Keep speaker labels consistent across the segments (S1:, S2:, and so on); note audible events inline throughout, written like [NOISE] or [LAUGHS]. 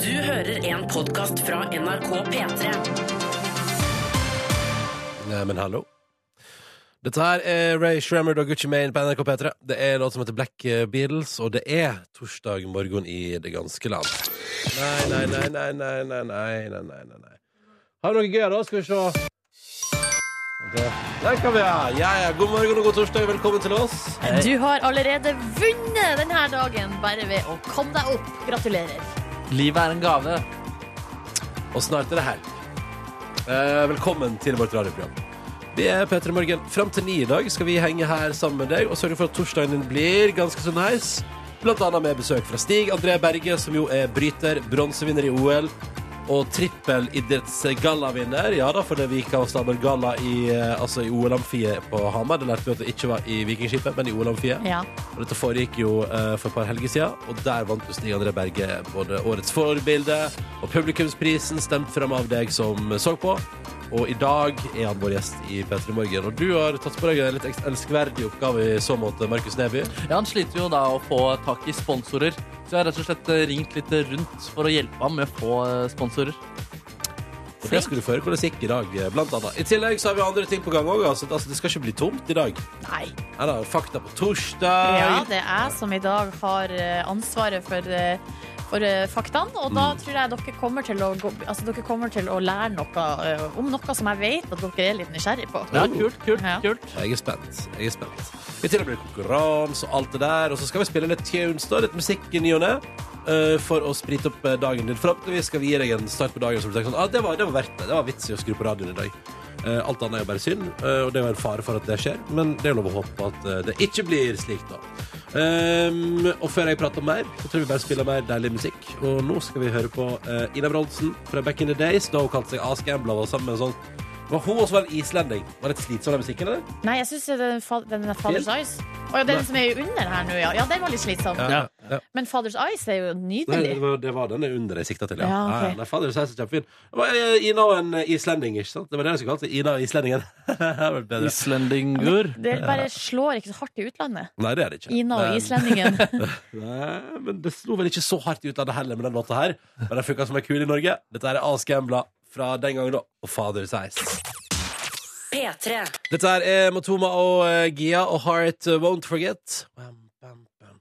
S1: Du hører en podkast fra NRK P3.
S2: Nei, men hallo. Dette her er Ray Shrammer og Gucci Mane på NRK P3. Det er en låt som heter Black eh, Beatles, og det er torsdag morgen i det ganske land. Nei, nei, nei, nei, nei, nei, nei, nei, nei, nei, nei. Har vi noe gøy da? Skal vi se. Det. Der kan vi ha. Ja, ja. God morgen og god torsdag. Velkommen til oss.
S3: Du har allerede vunnet denne dagen bare ved å komme deg opp. Gratulerer.
S4: Livet er en gave.
S2: Og snart er det helg. Eh, velkommen til vårt radioprogram. Vi er P3 Morgen. Fram til ni i dag skal vi henge her sammen med deg og sørge for at torsdagen din blir ganske så nice. Blant annet med besøk fra Stig André Berge, som jo er bryter, bronsevinner i OL og trippelidrettsgallavinner. Ja da, for det Vika og Stabel Galla i, eh, altså i OL-amfiet på Hamar. Det lærte vi at det ikke var i Vikingskipet, men i OL-amfiet.
S3: Ja.
S2: Og Dette foregikk jo eh, for et par helger siden, og der vant jo Stig André Berge både årets forbilde og publikumsprisen, stemt frem av deg som så på. Og i dag er han vår gjest i P3 Morgen. Og du har tatt på deg en litt eks- elskverdig oppgave i så måte, Markus Neby.
S4: Ja, han sliter jo da å få tak i sponsorer, så jeg har rett og slett eh, ringt litt rundt for å hjelpe ham med å få eh, sponsorer.
S2: Og det skal du få høre hvordan det gikk i dag, eh, blant annet. I tillegg så har vi andre ting på gang òg. Altså, altså, det skal ikke bli tomt i dag.
S3: Nei.
S2: Her er fakta på torsdag.
S3: Ja, det er jeg som i dag har eh, ansvaret for, eh, for eh, faktaene. Og da
S2: Mm.
S3: tror jeg dere kommer til å, gå, altså dere kommer til å lære noe eh, om noe som jeg vet at dere er litt nysgjerrig på.
S2: Oh.
S4: Ja, kult, kult,
S3: Ja.
S4: kult.
S2: Jeg er spent. jeg er spent I tillegg blir det konkurranse og alt det der. Og så skal vi spille litt tunes, da, litt musikk i ny og ne. eh, for å sprite opp eh, dagen din. Forhåpentligvis skal vi gi deg en start på dagen som du tenker sånn ah, det, var, det var verdt det. Det var vits i å skru på radioen i dag. Eh, alt annet er jo bare synd, eh, og det er jo en fare for at det skjer. Men det er lov å håpe at eh, det ikke blir slik, da. Ehm, og før jeg prater mer, så tror jeg vi bare spiller mer deilig musikk. Og nå skal vi høre på eh, Ina Brodsen fra Back in the Days, da hun kalte seg Ask Ambla. Var sammen med en sånn Var hun også en islending? Var det litt slitsom, den musikken, eller?
S3: Nei, jeg syns den, fa- den er Father's
S2: Helt?
S3: Eyes. Å ja, den som er under her nå, ja. ja. Den var litt slitsom.
S2: Ja.
S3: Men Father's Eyes er jo
S2: Nei, det
S3: nydelig.
S2: var, det var den under jeg sikta til, ja.
S3: Ja, ok.
S2: ja, ja. Nei, fader, så er det så kjempefin. Det var eh, Ina og en eh, islending, ikke sant? Det var det jeg skulle kalt det. Ina og islendingen. [LAUGHS] det hadde vært bedre.
S4: Islendinger.
S3: Det bare slår ikke så hardt i utlandet.
S2: Nei, det er det ikke.
S3: Ina og
S2: Men- [LAUGHS]
S3: islendingen.
S2: Nei, men det slo vel ikke så hardt ut av det heller med den låta her. Men den funka som ei kule i Norge. Dette er Ask Embla fra den gangen, da. Og Fader Seis.
S1: P3.
S2: Dette her er Matoma og eh, Gia og Heart eh, Won't Forget. Bam, bam, bam.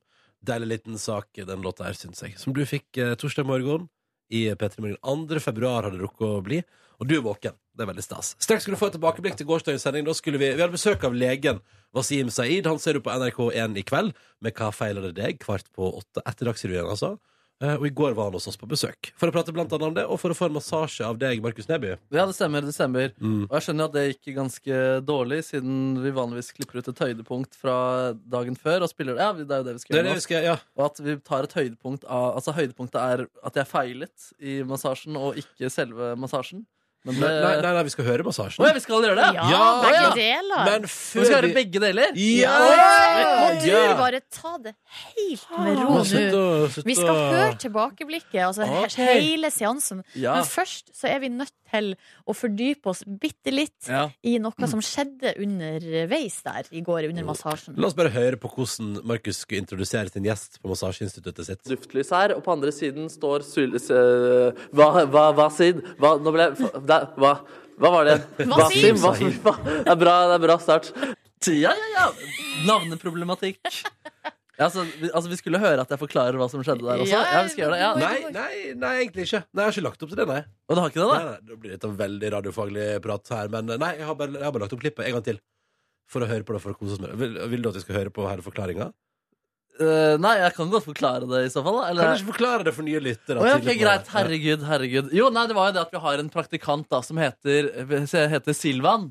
S2: Deilig liten sak, eh, den låta her, syns jeg. Som du fikk eh, torsdag morgen i P3 Morgen. 2. februar har det rukket å bli. Og du er våken. Det er veldig stas. Straks skal du få et tilbakeblikk til gårsdagens sending. Da skulle vi, vi hadde besøk av legen Wasim Saeed. Han ser du på NRK1 i kveld med Hva feiler det deg? kvart på åtte. Etter Dagsrevyen, altså. Eh, Og i går var han hos oss på besøk. For å prate blant annet om det, og for å få en massasje av deg, Markus Neby.
S4: Ja, det stemmer. det stemmer
S2: Mm.
S4: Og jeg skjønner jo at det gikk ganske dårlig, siden vi vanligvis klipper ut et høydepunkt fra dagen før og spiller det. Ja, det er jo det vi skal
S2: Det er
S4: gjøre
S2: det
S4: nå.
S2: vi skal, ja.
S4: Og at vi tar et høydepunkt av Altså høydepunktet er at jeg feilet i massasjen, og ikke selve massasjen. Men det
S2: nei, nei, nei, nei, vi skal høre massasjen.
S4: Å ja, vi skal gjøre det?
S3: Ja,
S2: Ja,
S3: begge
S4: ja.
S3: deler.
S2: Men
S4: Vi skal
S2: før
S4: gjøre begge deler?
S2: Ja!
S3: Må
S2: Ja!
S3: du bare ta det helt
S4: Ah.
S3: med ro
S2: Men slutt
S3: nå.
S2: å- slutt
S3: Vi skal
S2: å-
S3: høre tilbakeblikket, altså
S4: Ok.
S3: hele seansen.
S4: Ja.
S3: Men først så er vi nødt til å fordype oss bitte litt
S4: Ja.
S3: i noe som skjedde underveis der i går under massasjen.
S2: La oss bare høre på hvordan Markus skulle introdusere sin gjest på massasjeinstituttet sitt.
S4: Duftlys her, og på andre siden står Sul... s- eh, Hva, hva, hva Sid? Hva, nå ble jeg fa- da, hva, hva var det?
S3: Wasim.
S4: Wasim, Wasim, hva? Det er bra, det er bra start. Ja, ja, ja. Navneproblematikk. Ja, altså, vi, altså, vi skulle høre at jeg forklarer hva som skjedde der også.
S3: Ja,
S4: Ja, vi skal gjøre det. Ja.
S2: Nei, nei, nei, egentlig ikke. Nei, Jeg har ikke lagt opp til det, nei.
S4: Og du har ikke det,
S2: nei,
S4: da?
S2: nei det blir litt av veldig radiofaglig prat her, men eh, nei, jeg har bare, jeg har bare lagt opp klippet en gang til. For å høre på det for å kose oss med det. Vil, vil du at vi skal høre på hele forklaringa?
S4: Eh, nei, jeg kan godt forklare det i så fall. da,
S2: Kan
S4: Eller?
S2: du ikke forklare det for nye lyttere?
S4: Å, ja, ok,
S2: tidlig på-
S4: greit, herregud, herregud Jo, nei, det var jo det at vi har en praktikant da Som heter, heter Silvan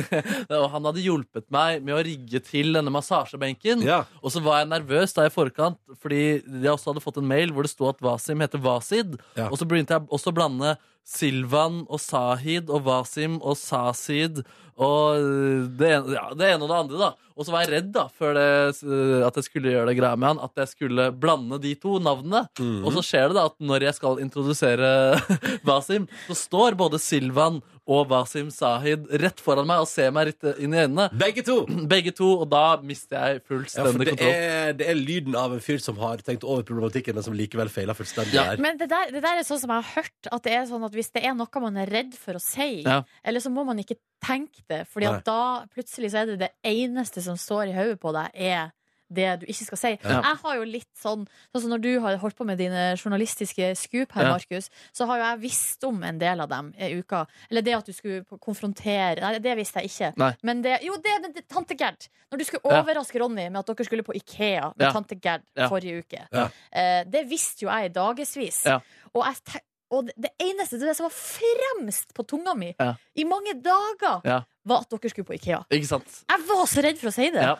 S4: [LAUGHS] Og han hadde hjulpet meg Med å rigge til denne massasjebenken
S2: Ja.
S4: Og så var jeg nervøs da i forkant Fordi jeg også hadde fått en mail Hvor det stod at Wasim heter Wasid
S2: Ja.
S4: Og så begynte jeg også å blande Silvan og Sahid og Wasim og Sasid og øh, det ene, ja, det ene og det andre, da. Og så var jeg redd da, før det, eh, at jeg skulle gjøre det greia med han, at jeg skulle blande de to navnene.
S2: Mhm.
S4: Og så skjer det da at når jeg skal introdusere [LAUGHS] Wasim, så står både Silvan og Wasim Sahid rett foran meg og ser meg rett inn i øynene.
S2: Begge to!
S4: Begge to, og da mister jeg
S2: Ja, for
S4: fullstendig
S2: det
S4: kontroll.
S2: er, det er lyden av en fyr som har tenkt over problematikken, men som likevel feila fullstendig
S4: Ja.
S2: der.
S3: Men det der, det der er sånn som jeg har hørt, at det er sånn at hvis det er noe man er redd for å si,
S4: Ja.
S3: eller så må man ikke tenke det, fordi at da plutselig så er det det eneste som står i hodet på deg, er det du ikke skal si.
S4: Ja.
S3: Jeg har jo litt sånn Sånn som når du har holdt på med dine journalistiske skup her,
S4: Ja.
S3: Markus, så har jo jeg visst om en del av dem i uka. Eller det at du skulle på- konfrontere Nei, det visste jeg ikke.
S4: Nei.
S3: Men det Jo, det med tante Gerd. Når du skulle
S4: Ja.
S3: overraske Ronny med at dere skulle på Ikea med
S4: Ja.
S3: tante Gerd
S4: Ja.
S3: forrige uke.
S2: Ja.
S3: Eh, det visste jo jeg i dagevis.
S4: Ja.
S3: Og, jeg te- og det- det eneste det som var fremst på tunga mi
S4: Ja.
S3: i mange dager,
S4: Ja.
S3: var at dere skulle på Ikea.
S4: Ikke sant?
S3: Jeg var så redd for å si det.
S4: Ja.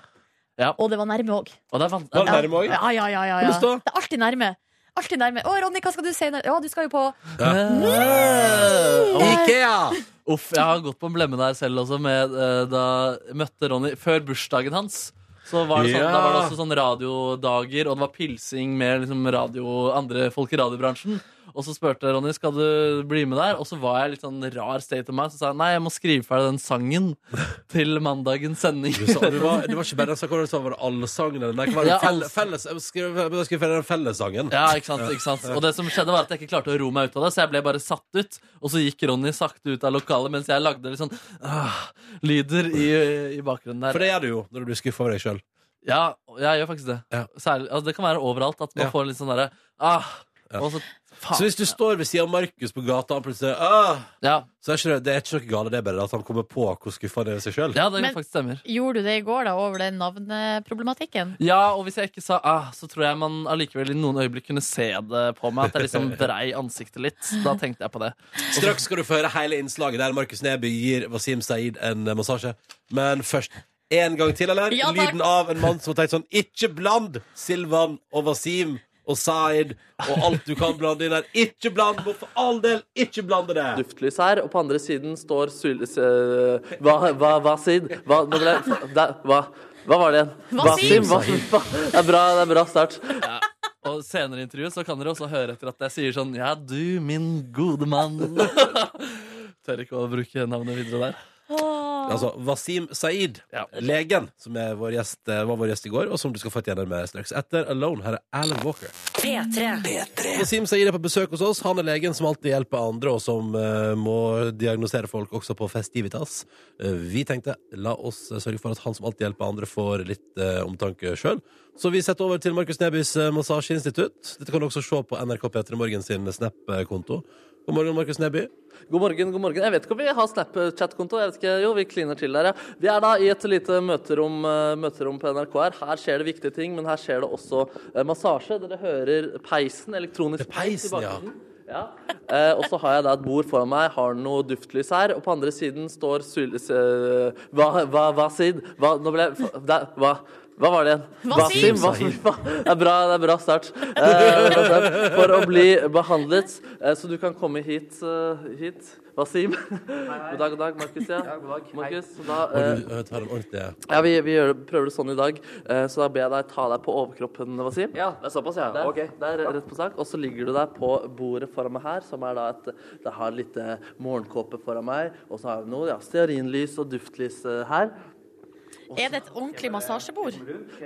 S4: Ja.
S3: Og det var nærme òg.
S4: Og det er van-
S2: Var det
S4: ja.
S2: nærme òg?
S3: Ja, ja, ja, ja,
S2: Hvordan
S3: ja.
S2: da?
S3: Det er alltid nærme. Alltid nærme. Å, Ronny, hva skal du si? nå? Ja, du skal jo på
S4: Ja.
S2: Ikea!
S4: Uff, jeg har gått på en blemme der selv også med, eh, Da jeg møtte Ronny Før bursdagen hans så var det sånn,
S2: Ja.
S4: Da var det også sånn radiodager Og det var pilsing med liksom radio, andre folk i radiobransjen Og så spørte jeg Ronny, skal du bli med der? Og så var jeg litt sånn rar state of mind Så sa jeg, nei, jeg må skrive ferdig den sangen Til mandagens sending
S2: Du sa, du var, det var ikke bare den sangen, hva var det du sa? var det allsangen eller nei, hva var det?
S4: Ja,
S2: Felle, felles, jeg skrev, jeg skrev den fellessangen.
S4: Ja, ikke sant, ikke sant Og det som skjedde var at jeg ikke klarte å ro meg ut av det Så jeg ble bare satt ut Og så gikk Ronny sakte ut av lokalet Mens jeg lagde litt sånn ah, lyder i, i bakgrunnen der
S2: For det gjør du jo når du blir skuffa over deg sjøl.
S4: Ja, jeg gjør faktisk det.
S2: Ja.
S4: Særlig, altså, det kan være overalt at man
S2: Ja.
S4: får litt sånn derre ah,
S2: Ja.
S4: og så, faen.
S2: Så hvis du står ved sida av Markus på gata og plutselig ah,
S4: ja.
S2: Så er ikke det, det er ikke noe galt, det er bare at han kommer på hvor skuffa han er over seg sjøl.
S4: ja, det
S3: Men-
S4: faktisk stemmer.
S3: Gjorde du det i går, da, over den navneproblematikken?
S4: Ja, og hvis jeg ikke sa ah, så tror jeg man allikevel i noen øyeblikk kunne se det på meg. At jeg liksom
S2: [LAUGHS]
S4: vrei ansiktet litt. Da tenkte jeg på det.
S2: Straks skal du få høre hele innslaget der Markus Neby gir Wasim Saeed en eh, massasje. Men først en gang til, eller?
S3: Ja, takk.
S2: Lyden av en mann som har tenkt sånn Ikke bland Silvan og Wasim og Saeed og alt du kan blande inn der. Ikke bland! må For all del, ikke blande det!
S4: Duftlys her, og på andre siden står Sul... eh, Hva, hva, hva sid? Hva, nå ble, da, hva, hva var det igjen?
S3: Wasim.
S4: Wasim, hva- Det er bra, det er bra start. Og senere i intervjuet så kan dere også høre etter at jeg sier sånn Ja, du, min gode mann. [LAUGHS] Tør ikke å bruke navnet videre der.
S2: Altså, Wasim Saeed,
S4: Ja.
S2: legen, som er vår gjest, eh, var vår gjest i går, og som du skal få et gjennom med straks. Etter Alone, her er Alan Walker.
S1: P3.
S2: Wasim Saeed er på besøk hos oss. Han er legen som alltid hjelper andre, og som eh, må diagnosere folk også på festivitas. Eh, vi tenkte la oss eh, sørge for at han som alltid hjelper andre, får litt eh, omtanke sjøl. Så vi setter over til Markus Nebys eh, massasjeinstitutt. Dette kan du også se på NRK P3 Morgen sin Snap-konto. God morgen, Markus Neby.
S4: God morgen, god morgen. Jeg vet ikke om vi har Snapchat-konto. jeg vet ikke, Jo, vi kliner til der, ja. Vi er da i et lite møterom, eh, møterom på NRK her. Her skjer det viktige ting, men her skjer det også eh, massasje. Dere hører peisen, elektronisk
S2: Det er peisen, ja.
S4: Ja. Eh, og så har jeg da et bord foran meg, har noe duftlys her, og på andre siden står sul... s- eh, hva, hva, hva, Sid? Hva, nå ble jeg fa- der, Hva? Hva var det igjen?
S3: Wasim.
S4: Wasim, Wasim, fa- Det er bra, det er bra start. Eh, bra start for å bli behandlet. Eh, så du kan komme hit. eh, hit. Wasim. God dag, god dag, Markus. Ja. Markus, da, eh,
S2: Du eh, tar en ordentlig
S4: ja, vi, vi gjør, det- prøver det sånn i dag, eh, så da ber jeg deg ta deg på overkroppen, Wasim.
S5: Ja, det er såpass, ja.
S4: Der,
S5: Ok.
S4: der rett på sak. Og så ligger du der på bordet foran meg her, som er da et Det har litt eh, morgenkåpe foran meg, og så har vi noe ja, stearinlys og duftlys eh, her.
S3: Er det et ordentlig massasjebord?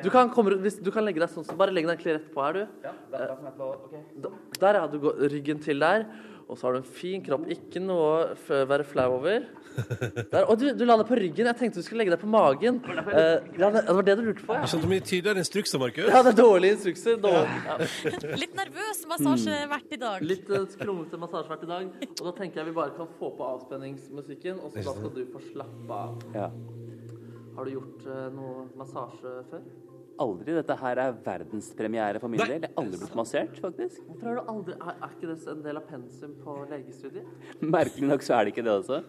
S4: Du kan, komme, rundt- hvis, du kan legge deg sånn, så bare legg deg egentlig rett på her, du. D- Der, ja. Du går ryggen til der. Og så har du en fin kropp. Ikke noe å f- være flau over. Der. Og du, du lander på ryggen. Jeg tenkte du skulle legge deg på magen. Eh, ja, det, det var det du lurte på, ja.
S2: Skjønte mye tydeligere instrukser, Markus.
S4: Ja, det er dårlige instrukser. Dårlig. Ja.
S3: Litt nervøs
S4: Mm.
S3: massasjevert i dag.
S4: Litt eh, skrummete massasjevert i dag. Og da tenker jeg vi bare kan få på avspenningsmusikken, og så da skal du få slappe av. Har du gjort eh, noe massasje før?
S5: Aldri. Dette her er verdenspremiere for min del. Jeg har aldri blitt massert, faktisk. [LAUGHS]
S4: Hvorfor har du aldri Er, er ikke det en del av pensum på legestudiet?
S5: Merkelig nok så er det ikke det også.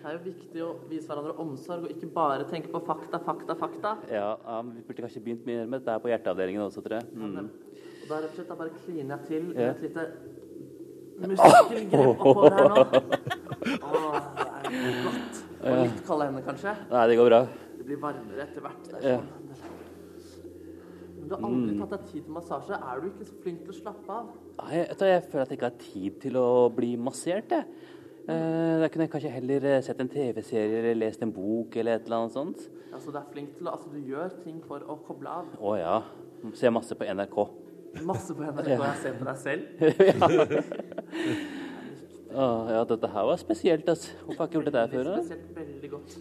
S4: Det er jo viktig å vise hverandre omsorg, og ikke bare tenke på fakta, fakta, fakta.
S5: Ja, ja, men Vi burde kanskje begynt mer med dette her på hjerteavdelingen også, tror jeg. Mm.
S4: Og da rett og slett da bare kliner jeg til med
S5: Ja.
S4: et lite Musikkgrepet på der nå. Åh, det er godt. Og litt kald henne, kanskje.
S5: Nei, det går bra.
S4: Det blir varmere etter hvert. Det er
S5: Ja.
S4: sånn. Men du har aldri tatt deg tid til massasje. Er du ikke så flink til å slappe av?
S5: Nei, vet du, jeg føler at jeg ikke har tid til å bli massert, jeg. Eh, da kunne jeg kanskje heller eh, sett en TV-serie eller lest en bok eller et eller annet sånt.
S4: Altså, du er flink til å Altså, du gjør ting for å koble av.
S5: Å ja. Ser masse på NRK.
S4: Masse på NRK. Jeg ser på deg selv.
S5: Å, ja, dette her var spesielt, altså. Hvorfor har jeg Mm. ikke gjort dette her før? da?
S4: Spesielt veldig godt.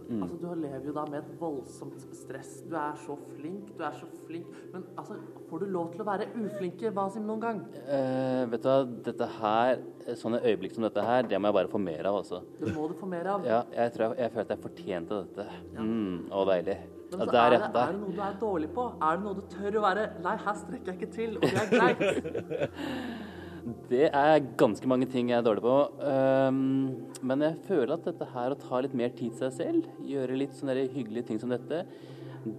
S4: Men altså, du lever jo da med et voldsomt stress. Du er så flink, du er så flink. Men altså, får du lov til å være uflink i Basim noen gang?
S5: Eh, vet du hva, dette her, sånne øyeblikk som dette her, det må jeg bare få mer av, altså.
S4: Det må du få mer av.
S5: Ja, jeg tror jeg, jeg føler at jeg fortjente dette. Mm, å, deilig.
S4: Men
S5: Ja,
S4: så er,
S5: der, ja.
S4: det, er
S5: Der.
S4: det noe du er dårlig på? Er det noe du tør å være Nei, her strekker jeg ikke til, og det er
S5: [LAUGHS]
S4: greit.
S5: Det er ganske mange ting jeg er dårlig på. Ehm, men jeg føler at dette her å ta litt mer tid til seg selv, gjøre litt sånne der hyggelige ting som dette,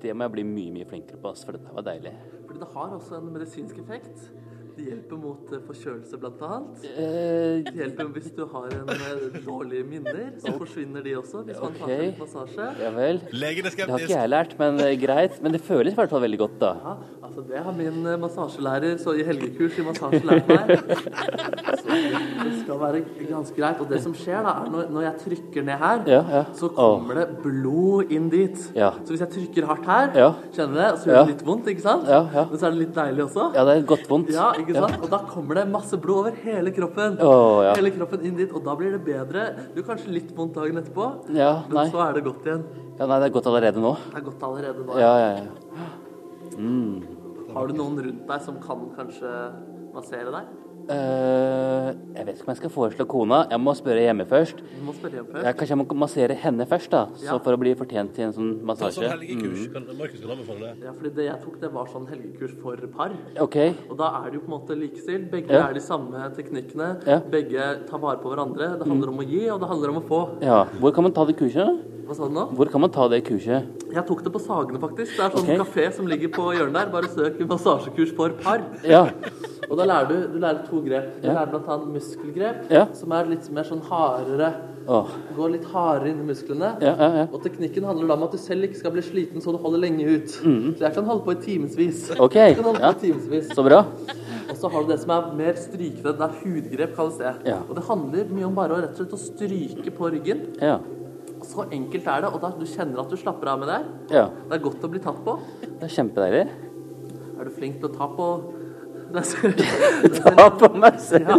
S5: det må jeg bli mye, mye flinkere på, ass, for dette var deilig.
S4: Fordi det har også en medisinsk effekt. Det hjelper mot eh, forkjølelse, blant annet.
S5: Eh,
S4: Det hjelper hvis du har en eh, dårlige minner, så forsvinner de også hvis man tar
S5: Ok.
S4: seg litt massasje.
S5: ja vel.
S2: Legen er
S5: Det har
S2: skeptisk.
S5: ikke jeg lært, men eh, greit. Men det føles i hvert fall veldig godt, da.
S4: Ja, altså det har min eh, massasjelærer så i helgekurs i massasje lært
S5: [LAUGHS]
S4: meg. Så det skal være ganske greit. Og det som skjer da, er når, når jeg trykker ned her,
S5: Ja, ja.
S4: så kommer det blod inn dit.
S5: Ja.
S4: Så hvis jeg trykker hardt her,
S5: Ja.
S4: kjenner du det, så gjør det
S5: Ja.
S4: litt vondt, ikke sant?
S5: Ja, ja.
S4: Men så er det litt deilig også.
S5: Ja, det er godt vondt.
S4: Ja, ikke sant? Og da kommer det masse blod over hele kroppen.
S5: Å, ja.
S4: Hele kroppen inn dit, og da blir det bedre. Det gjør kanskje litt vondt dagen etterpå,
S5: Ja,
S4: men
S5: nei.
S4: så er det godt igjen.
S5: Ja, nei, det er godt allerede nå.
S4: Det er godt allerede nå.
S5: Ja, ja, ja.
S4: Har du noen rundt deg som kan kanskje massere deg?
S5: Eh, jeg vet ikke om jeg skal foreslå kona. Jeg må spørre hjemme først.
S4: Du må spørre hjem før.
S5: Ja, kanskje jeg må massere henne først, da. Så
S4: Ja.
S5: for å bli fortjent til en sånn
S2: Ta sånn
S5: massasje.
S2: helgekurs. Kan, Markus kan anbefale det.
S4: Ja, fordi det jeg tok, det var sånn helgekurs for par.
S5: OK.
S4: Og da er det jo på en måte likestilt. Begge
S5: Ja.
S4: er de samme teknikkene.
S5: Ja.
S4: Begge tar vare på hverandre. Det handler om å gi, og det handler om å få.
S5: Ja. Hvor kan man ta det kurset? da?
S4: Hva sa du nå?
S5: Hvor kan man ta det kurset?
S4: Jeg tok det på Sagene, faktisk. Det er sånn
S5: Ok.
S4: kafé som ligger på hjørnet der. Bare søk massasjekurs for par.
S5: Ja.
S4: Og da lærer du, du lærer to grep. Du
S5: Ja.
S4: lærer blant annet muskelgrep,
S5: Ja.
S4: som er litt mer sånn hardere.
S5: Åh.
S4: Går litt hardere inn i musklene.
S5: Ja, ja, ja.
S4: Og teknikken handler da om at du selv ikke skal bli sliten, så du holder lenge ut. Så jeg kan holde på i timevis.
S5: Mhm. [LAUGHS] Ok,
S4: Jeg kan holde
S5: ja.
S4: på i timevis.
S5: Så bra.
S4: Og så har du det som er mer strykende, det er hudgrep, kalles det.
S5: Ja.
S4: Og det handler mye om bare å rett og slett å stryke på ryggen.
S5: Ja.
S4: Så enkelt er det, og da du kjenner at du slapper av med det.
S5: Ja.
S4: Det er godt å bli tatt på.
S5: Det er kjempedeilig.
S4: Er du flink til å ta på [LAUGHS] deg selv?
S5: Ta på meg selv.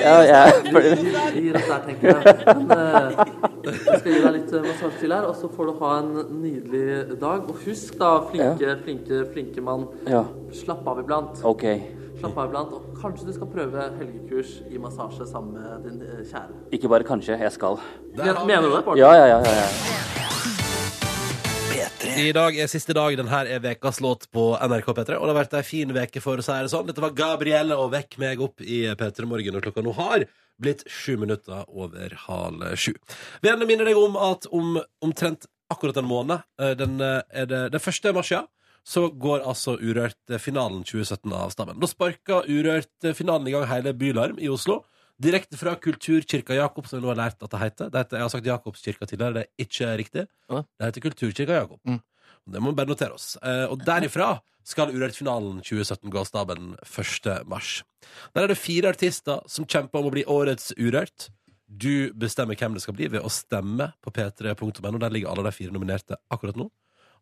S5: Ja, [LAUGHS] jeg føler
S4: Vi gir oss der, tenker jeg. Men, eh, jeg skal gi deg litt eh, massasje til her, og så får du ha en nydelig dag. Og husk da, flinke, flinke, flinke mann,
S5: Ja.
S4: slapp av iblant.
S5: OK.
S4: Slapp av iblant, og kanskje du skal prøve helgekurs i massasje sammen med din eh, kjære.
S5: Ikke bare kanskje. Jeg skal.
S4: Men, mener du det, Bård?
S5: Ja, ja, ja. ja, ja.
S2: I dag er siste dag. Den her er vekas låt på NRK P3. Og det har vært ei fin veke for å si det sånn. Dette var Gabrielle og Vekk meg opp i P3 Morgen, og klokka nå har blitt sju minutter over halv sju. Vil gjerne minne deg om at om omtrent akkurat en måned, eh, den, eh, er det, den første mars, ja, så går altså Urørt-finalen 2017 av stammen. Da sparka Urørt-finalen i gang hele Bylarm i Oslo. Direkte fra Kulturkirka Jakob, som vi nå har lært at det heter. Det heter jeg har sagt Jakobskirka tidligere, det er ikke riktig.
S6: Hva?
S2: Det heter Kulturkirka Jakob.
S6: Mm.
S2: Det må vi bare notere oss. Eh, og derifra skal Urørt-finalen 2017 gå av stabelen 1. mars. Der er det fire artister som kjemper om å bli årets Urørt. Du bestemmer hvem det skal bli ved å stemme på p3.no. Der ligger alle de fire nominerte akkurat nå.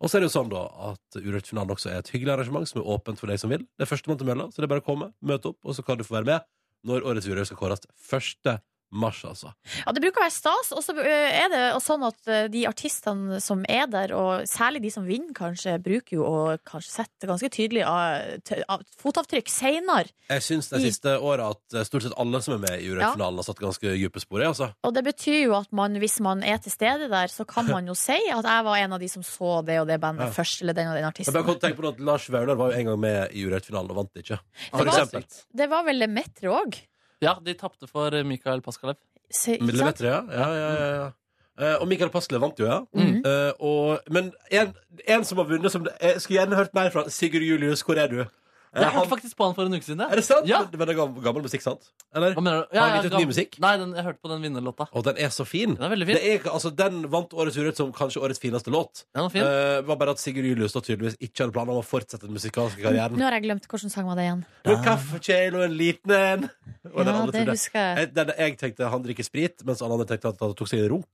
S2: Og så er det jo sånn da at Urørt-finalen også er et hyggelig arrangement som er åpent for deg som vil. Det er førstemann til mølla, så det er bare å komme, møte opp, og så kan du få være med når årets Urørt skal kåres 1. mars, altså.
S3: Ja, det bruker å være stas, og så ø, er det jo sånn at ø, de artistene som er der, og særlig de som vinner, kanskje, bruker jo å kanskje sette ganske tydelig av, t- av fotavtrykk seinere.
S2: Jeg syns de
S3: I-
S2: siste åra at eh, stort sett alle som er med i Urørt-finalen, har satt ganske dype spor, jeg, altså.
S3: Og det betyr jo at man, hvis man er til stede der, så kan man jo si at jeg var en av de som så det og det bandet
S2: Ja.
S3: først, eller den og den
S2: Jeg bare
S3: artisten.
S2: kom til å tenke på noe at Lars Vaular var jo en gang med i Urørt-finalen og vant ikke. For
S3: var-
S2: eksempel.
S3: Det var vel Lemetre òg?
S6: Ja, de tapte for eh, Mikael Paskalev.
S3: Se- ikke sant?
S2: Millimeter, ja. ja, ja, ja, ja. Eh, og Mikael Pasle vant jo, ja.
S4: Mm.
S3: Mhm.
S2: Eh, og, men en, en som har vunnet som det, Jeg skulle gjerne hørt mer fra Sigurd Julius, hvor er du? Eh,
S4: Jeg
S2: han-
S4: hørte faktisk på han for en uke siden. jeg.
S2: Er det sant?
S4: Ja.
S2: Men- Men det er gammel, gammel musikk, sant? Eller?
S4: Hva mener du?
S2: Har han gitt ut ny
S4: gam-
S2: musikk?
S4: Nei, den, jeg hørte på den vinnerlåta.
S2: Og den er så fin.
S4: Den er veldig fin.
S2: Det er, altså, den vant Årets Urørt som kanskje årets fineste låt.
S4: Den var fin.
S2: Eh, var bare at Sigurd Julestad tydeligvis ikke hadde planer om å fortsette den musikalske karrieren.
S3: Nå har jeg glemt hvordan sang var det igjen.
S2: Men kaffekjele og en liten en! Og den
S3: Ja,
S2: andre
S3: det
S2: trodde-
S3: husker
S4: Eh.
S3: jeg.
S2: Jeg, den- jeg tenkte han drikker sprit, mens alle andre tenkte at han tok seg en runk.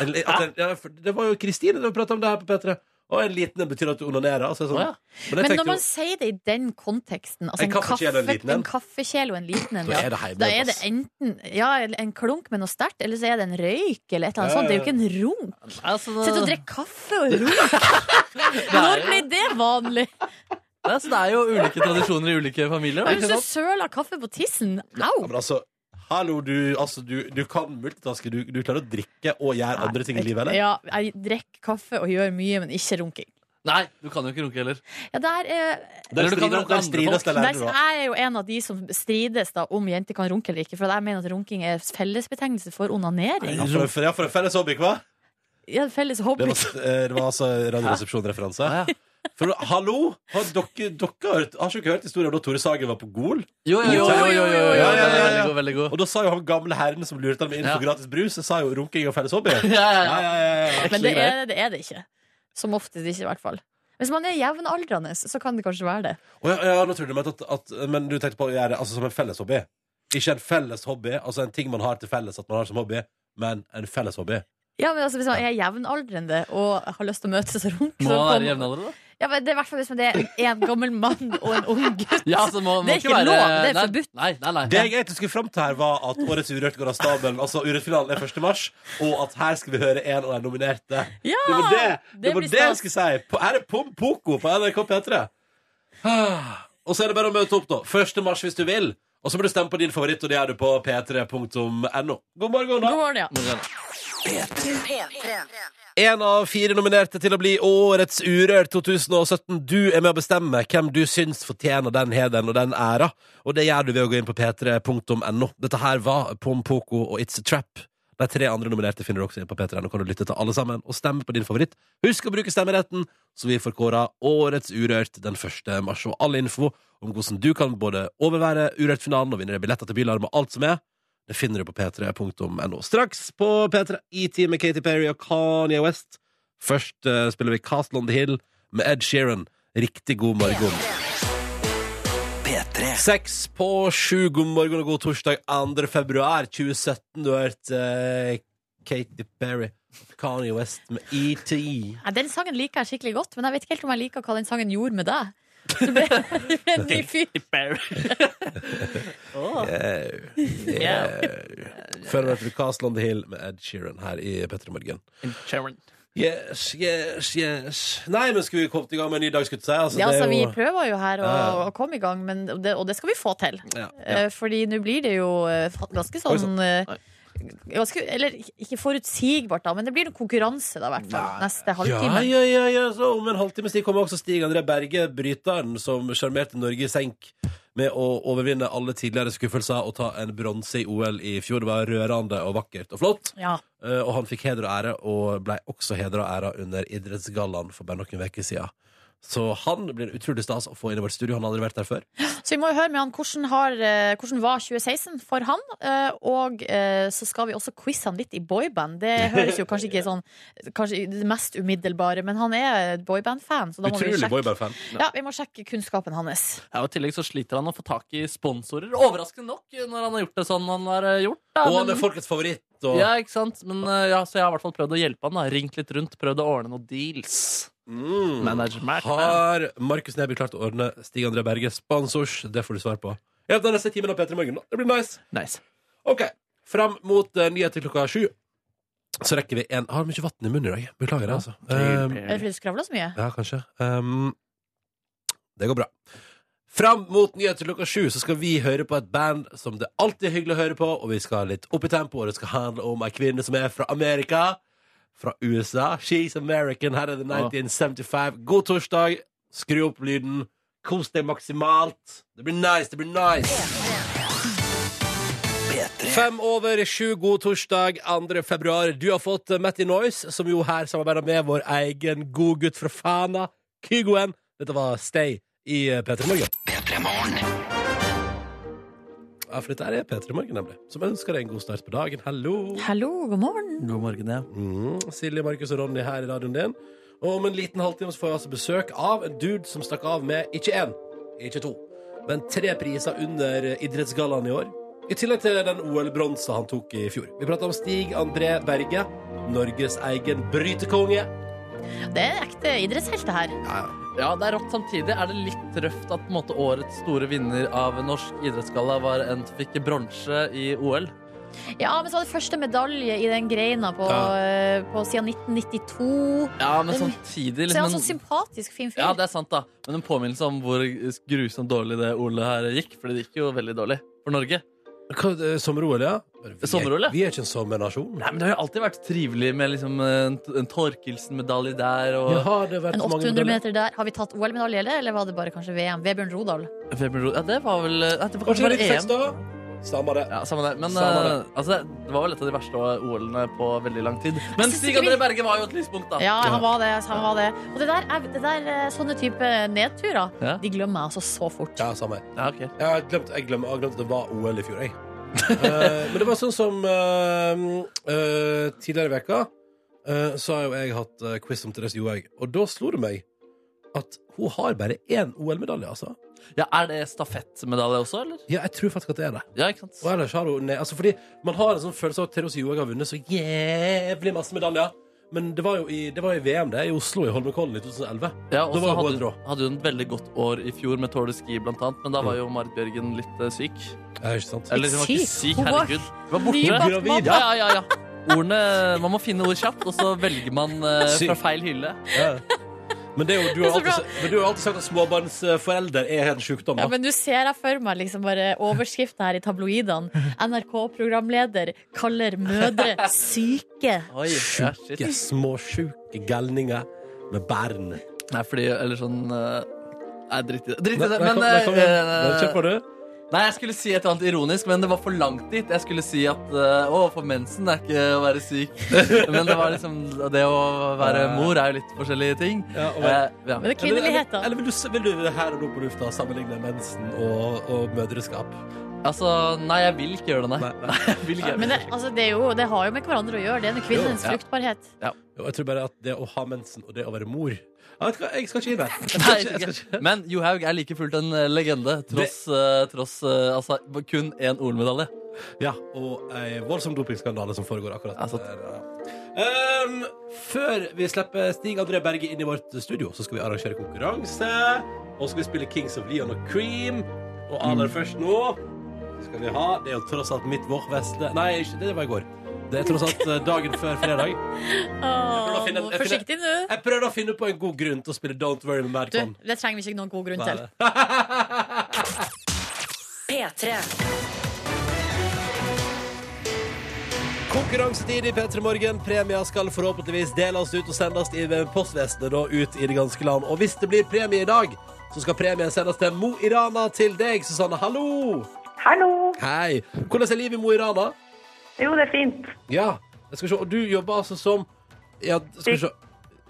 S2: En, li-
S4: Ah.
S2: at den, ja, for det var jo Kristine som prata om det her på P3. Og en liten en betyr at du onanerer. Altså, sånn.
S4: Å, ja.
S2: Men jeg
S3: Men
S2: tenkte
S3: når man
S2: jo
S3: sier det i den konteksten, altså
S2: En
S3: en,
S2: kaffekjele og en
S3: kaffe-
S2: liten en.
S3: en kaffekjele og en liten en,
S2: Da
S3: ja.
S2: er det heimelig,
S3: Da er det
S2: ass.
S3: enten ja, en klunk med noe sterkt, eller så er det en røyk, eller et eller annet
S2: Ja,
S3: sånt. Det er
S2: ja,
S3: jo ikke en runk.
S4: Altså,
S3: Sitt og drikk kaffe og
S2: [LAUGHS]
S3: runk.
S4: det,
S3: [LAUGHS] Når
S4: er jo,
S3: ble det vanlig?
S4: det, er, så det er jo ulike tradisjoner i ulike familier. da,
S3: Hvis
S4: ikke
S3: du
S4: sant?
S3: søler kaffe på tissen, au!
S2: ja, men altså, Hallo, du, altså, du, du kan multitaske. Du, du klarer å drikke og gjøre andre ting i livet, eller?
S3: Ja, jeg drikker kaffe og gjør mye, men ikke runking.
S4: Nei, du kan jo ikke runke heller.
S3: Ja, der er
S2: Der
S4: Eller du kan
S2: strider-
S4: runke
S2: der
S4: andre
S2: strides
S4: folk.
S2: det
S3: Nei,
S2: lærere, da.
S3: så jeg er jo en av de som strides da om jenter kan runke eller ikke. For jeg mener at runking er fellesbetegnelse for onanering.
S2: Ja, for en- for- ja, for en felles hobby, hva?
S3: Ja, felles
S2: Det
S3: hobby.
S2: var, eh, det var altså Radioresepsjon-referanse.
S4: Ja, ja.
S2: For hallo! Har dere, dere har, hørt- har ikke dere hørt historien om da Tore Sagen var på Gol?
S4: Jo, jo, jo, jo, jo, jo, jo,
S2: Ja, ja,
S4: den er
S2: ja,
S4: Veldig
S2: ja.
S4: god, veldig
S2: [LAUGHS]
S4: god.
S2: Og da sa jo han gamle herren som lurte ham inn for
S4: Ja.
S2: gratis brus, sa jo runking og felles hobby.
S4: Ja, ja, ja.
S3: Men det
S4: greier.
S3: er, det er det ikke. Som oftest ikke, i hvert fall. Hvis man er jevnaldrende, så kan det kanskje være det.
S2: Og ja, ja, nå trodde jeg at, at Men du tenkte på å gjøre det altså, som en felles hobby? Ikke en felles hobby, altså en ting man har til felles at man har som hobby, men en felles hobby.
S3: Ja, men altså Hvis man er jevnaldrende og har lyst til å møtes og runke
S4: Må
S3: så
S4: han
S3: kan-
S4: være jevnaldrende, da?
S3: Ja, men det er i hvert fall hvis man er en gammel mann og en ung gutt.
S4: Ja, altså, må, må
S3: Det er ikke
S4: være,
S3: lov, det er
S4: nei,
S3: forbudt.
S4: Nei, nei, nei.
S2: Det jeg egentlig skulle fram til her, var at årets Urørt går av stabelen. Altså Urørt-finalen er 1. mars, og at her skal vi høre en av de nominerte.
S3: Ja!
S2: Det var det, det,
S3: Det
S2: var
S3: blir
S2: det jeg
S3: stas.
S2: skulle si. På- Her er Pom Poko på NRK P3. Ah, Og så er det bare å møte opp, da. 1. mars hvis du vil. Og så må du stemme på din favoritt, og det gjør du på p3.no. God morgen,
S3: God
S2: da.
S3: morgen, ja.
S2: Én av fire nominerte til å bli Årets Urørt 2017. Du er med å bestemme hvem du syns fortjener den heden og den æra. Og det gjør du ved å gå inn på p3.no. Dette her var Pom Poko og It's a Trap. De tre andre nominerte finner du også inn på P3. Nå kan du lytte til alle sammen og stemme på din favoritt. Husk å bruke stemmeretten, så vi får kåra Årets Urørt den 1. mars. Og all info om hvordan du kan både overvære Urørt-finalen og vinne billetter til Bylarm og alt som er, det finner du på p3.no. Straks på P3 ET med Katy Perry og Kanye West. Først eh, spiller vi Castle on the Hill med Ed Sheeran. Riktig god morgen. Seks på sju, god morgen og god torsdag 2. februar 2017. Du har hørt eh, Katy Perry, Kanye West med E ET.
S3: Nei, Den sangen liker jeg skikkelig godt, men jeg vet ikke helt om jeg liker hva den sangen gjorde med deg. Så ble, [LAUGHS] du ble en ny fyr.
S2: Før hørte du Castle on the Hill med Ed Sheeran her i P3 Morgen. Yes, yes, yes. Nei, men skulle vi kommet i gang med en ny dag, skulle jeg si? Altså,
S3: Ja,
S2: det
S3: altså,
S2: er
S3: vi
S2: jo-
S3: prøver jo her å,
S2: Ja.
S3: å komme i gang, men det, og det skal vi få til.
S2: Ja,
S3: Eh, Fordi nå blir det jo eh, fa- ganske
S2: Oi,
S3: sånn eh, ganske, Eller ikke forutsigbart, da, men det blir noen konkurranse, da, i hvert fall. Neste
S2: Ja,
S3: halvtime.
S2: ja, ja, ja. Så om en halvtimes tid kommer også Stig André Berge, bryteren som sjarmerte Norge i senk med å overvinne alle tidligere skuffelser og ta en bronse i OL i fjor. Det var rørende og vakkert og flott.
S3: Ja.
S2: Eh, Og han fikk heder og ære, og ble også heder og ære under Idrettsgallaen for bare noen uker siden. Så han blir utrolig stas å få inn i vårt studio. Han har aldri vært der før.
S3: Så vi må jo høre med han hvordan, har, eh, hvordan var 2016 for han. eh, Og eh, så skal vi også quize han litt i boyband. Det
S2: [LAUGHS]
S3: høres jo kanskje ikke sånn Kanskje det mest umiddelbare, men han er boyband-fan, så da må vi
S2: Utrolig
S3: sjekke.
S2: boyband-fan.
S3: Ja, vi må sjekke kunnskapen hans.
S4: Ja, og I tillegg så sliter han å få tak i sponsorer. Overraskende nok, når han har gjort det sånn han har eh, gjort. Da.
S2: Og han
S4: Men-
S2: er folkets favoritt. Og...
S4: Ja, ikke sant? Men, eh, ja, så jeg har i hvert fall prøvd å hjelpe han. da Ringt litt rundt, prøvd å ordne noen deals.
S2: Mm.
S4: Management.
S2: Har Markus Neby klart å ordne Stig André Berge sponsors? Det får du svar på. Ja, den neste timen av P3 Morgen. da. Det blir nice.
S4: Nice.
S2: Ok, fram mot eh, nyheter klokka sju Så rekker vi en Har mye vann i munnen i dag, beklager det altså um,
S3: Er det fordi du skravler så mye?
S2: Ja, kanskje um, Det går bra Fram mot nyheter klokka sju Så skal vi høre på et band som det alltid er hyggelig å høre på Og vi skal litt opp i tempo Og det skal handle om en kvinne som er fra Amerika Fra USA She's American, her er det 1975 God torsdag, skru opp lyden Kos deg maksimalt Det blir nice, det blir nice Fem over sju, god torsdag 2. februar. Du har fått eh, Matty Noise, som jo her samarbeider med vår egen godgutt fra Fana, Kygoen. Dette var Stay i eh, P3 Morgen. Ja, for dette er P3 Morgen, nemlig. Som ønsker deg en god start på dagen. Hallo!
S3: Hallo, god morgen.
S4: God morgen, ja.
S2: Mm, Silje, Markus og Ronny her i radioen din. Og om en liten halvtime så får vi altså besøk av en dude som stakk av med ikke én, ikke to, men tre priser under idrettsgallaen i år. I tillegg til den OL-bronsa han tok i fjor. Vi prater om Stig André Berge, Norges egen brytekonge.
S3: Det er en ekte idrettshelt, det her.
S4: Ja, det er rått. Samtidig er det litt røft at på en måte, årets store vinner av norsk idrettsgalla var en som fikk bronse i OL.
S3: Ja, men så var det første medalje i den greina på,
S2: Ja.
S3: eh, på siden 1992.
S4: Ja, men
S2: Mm.
S3: Den-
S4: samtidig
S3: Så er han
S4: liksom,
S3: sånn sympatisk fin fyr.
S4: Ja, det er sant, da. Men en påminnelse om hvor grusomt dårlig det Ole her gikk. Fordi det gikk jo veldig dårlig for Norge.
S2: Hva- eh, Sommer-OL, ja? Vi er-
S4: Sommer-OL, ja.
S2: Vi er ikke en sommernasjon.
S4: Nei, men Det har jo alltid vært trivelig med liksom en, en Torkelsen-medalje der og
S2: Jaha, det har vært
S3: En
S2: så mange
S3: 800
S2: modeller.
S3: meter der. Har vi tatt OL-medalje, eller? Eller var det bare kanskje VM? Vebjørn Rodal.
S4: Vebjørn Rode- Ja, det var vel eh, Nei, det var
S2: Kanskje
S4: kanskje
S2: det er
S4: bare
S2: litt fest,
S4: EM.
S2: da? Samme det.
S4: Ja, samme det. Men
S2: Samme det.
S4: eh, altså, det var vel et av de verste OL-ene på veldig lang tid. Men
S3: synes
S4: Stig
S3: ikke vi-
S4: André Berge var jo et lyspunkt, da.
S3: Ja, han var det. Han var det. Og det der, er, det der eh, sånne type nedturer,
S4: Ja.
S3: de glemmer jeg altså så fort.
S2: Ja, samme her.
S4: Ja, ok.
S2: Jeg har glemt, jeg glemmer, jeg har glemt at det var OL i fjor, jeg. Eh, men det var sånn som eh, eh, tidligere i veka eh, så har jo jeg hatt eh, quiz om Therese Johaug, og da slo det meg at hun har bare én OL-medalje, altså.
S4: ja, Er det stafettmedalje også, eller?
S2: Ja, jeg tror faktisk at det er det.
S4: Ja, ikke sant?
S2: Og ellers har hun ne- altså, Fordi man har en sånn følelse av at Therese Johaug har vunnet så jævlig masse medaljer. Men det var jo i, det var i VM, det, i Oslo, i Holmenkollen i 2011.
S4: Ja, og
S2: Da
S4: så
S2: var
S4: hadde,
S2: hun rå.
S4: hadde hun et veldig godt år i fjor med Tour de Ski, blant annet. Men da var
S2: Mm.
S4: jo Marit Bjørgen litt eh, syk.
S2: Ja, ikke sant?
S4: Eller hun var ikke
S3: Syk?
S4: syk,
S3: Hun var
S4: herregud. Hun var
S3: nybakt
S4: borte.
S2: Gravid.
S4: Ja, ja, ja, ja. Ordene, man må finne ord kjapt, og så velger man eh,
S2: Syk.
S4: fra feil hylle.
S2: Ja. Men, det er jo, du har
S3: Det er så
S2: alltid, sa- men du har jo alltid sagt at småbarnsforelder er en sjukdom.
S3: Ja,
S2: da.
S3: men nå ser jeg for meg liksom bare overskriften her i tabloidene. NRK-programleder kaller mødre syke.
S4: Oi, ja, shit.
S2: Sjuke, småsjuke galninger med barn.
S4: Nei, fordi Eller sånn eh, Nei, dritt i det. Dritt i
S2: Nei,
S4: det,
S2: nei,
S4: sånn, men
S2: kom- nei, kom igjen. Nei,
S4: eh,
S2: Kjør på, du.
S4: Nei, jeg skulle si et eller annet ironisk, men det var for langt dit. Jeg skulle si at eh, å, for mensen er ikke å være syk.
S2: [LAUGHS]
S4: Men det var liksom Det å være mor er jo litt forskjellige ting.
S2: Ja, og-
S4: Eh, ja.
S3: Men det er
S2: Eller-
S3: kvinneligheten.
S2: Eller, eller vil, du, vil du her og nå på lufta sammenligne mensen og, og mødreskap?
S4: Altså, nei, jeg vil ikke gjøre det, nei.
S2: Nei, nei.
S4: Jeg vil ikke
S3: Men det, altså, det, er jo, det har jo med hverandre å gjøre. Det er med kvinnens
S4: Jo, ja.
S3: fruktbarhet.
S2: Jo, Jeg tror bare at det å ha mensen og det å være mor Jeg, vet, ikke hva, jeg skal ikke inn der. Jeg skal ikke-
S4: Nei,
S2: jeg skal ikke-
S4: [LAUGHS] Men Johaug er like fullt en eh, legende, tross, eh, tross eh, altså, kun én OL-medalje.
S2: Ja, og ei voldsom dopingskandale som foregår akkurat
S4: Ja, sant.
S2: der. ja. Ehm, før vi slipper Stig André Berge inn i vårt studio, så skal vi arrangere konkurranse. Og så skal vi spille Kings of Leon og Cream. Og
S4: Mm.
S2: aller først nå så skal vi ha Det er jo tross alt mitt vårveste Nei, ikke, det var i går. Det er tross alt eh, dagen før fredag.
S3: [LAUGHS] Åh,
S2: Jeg prøver å finne- jeg
S3: forsiktig nå.
S2: Jeg prøvde å finne på en god grunn til å spille Don't Worry med
S3: Du,
S2: Madcon.
S3: det trenger vi ikke noen god grunn til.
S1: P3.
S2: Konkurransetid i P3 Morgen. Premier skal forhåpentligvis deles ut og sendes i postvesenet da ut i det ganske land. Og hvis det blir premie i dag, så skal premien sendes til Mo i Rana til deg, Susanne. Hallo!
S7: Hallo.
S2: Hei. Hvordan er livet i Mo i Rana?
S7: Jo, det er fint.
S2: Ja, jeg skal se. Og du jobber altså som Ja, skal vi se.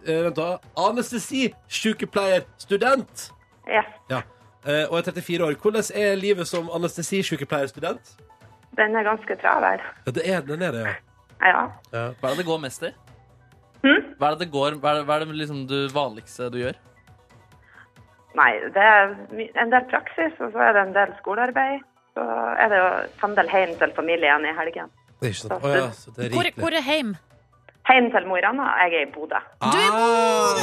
S2: Eh, vent, da. Anestesi, sykepleier, student.
S7: Yes,
S2: Ja. Eh, og er 34 år. Hvordan er livet som anestesisykepleierstudent?
S7: den er ganske travel.
S2: Ja, det er den er det, ja.
S7: Ja.
S2: ja.
S4: Hva er det det går mest i?
S7: Hm?
S4: Hva er det, det, går, hva er det, hva er det liksom du vanligste du gjør?
S7: Nei, det er my- en del praksis, og så er det en del skolearbeid. Så er det å pendle hjem til familien i helgen.
S2: Det er ikke sant. Å ja, så det er
S3: Hvor,
S2: rikelig.
S3: hvor er heim?
S7: Hjem til Mo i Rana, jeg er i Bodø.
S3: Du er
S2: Ah!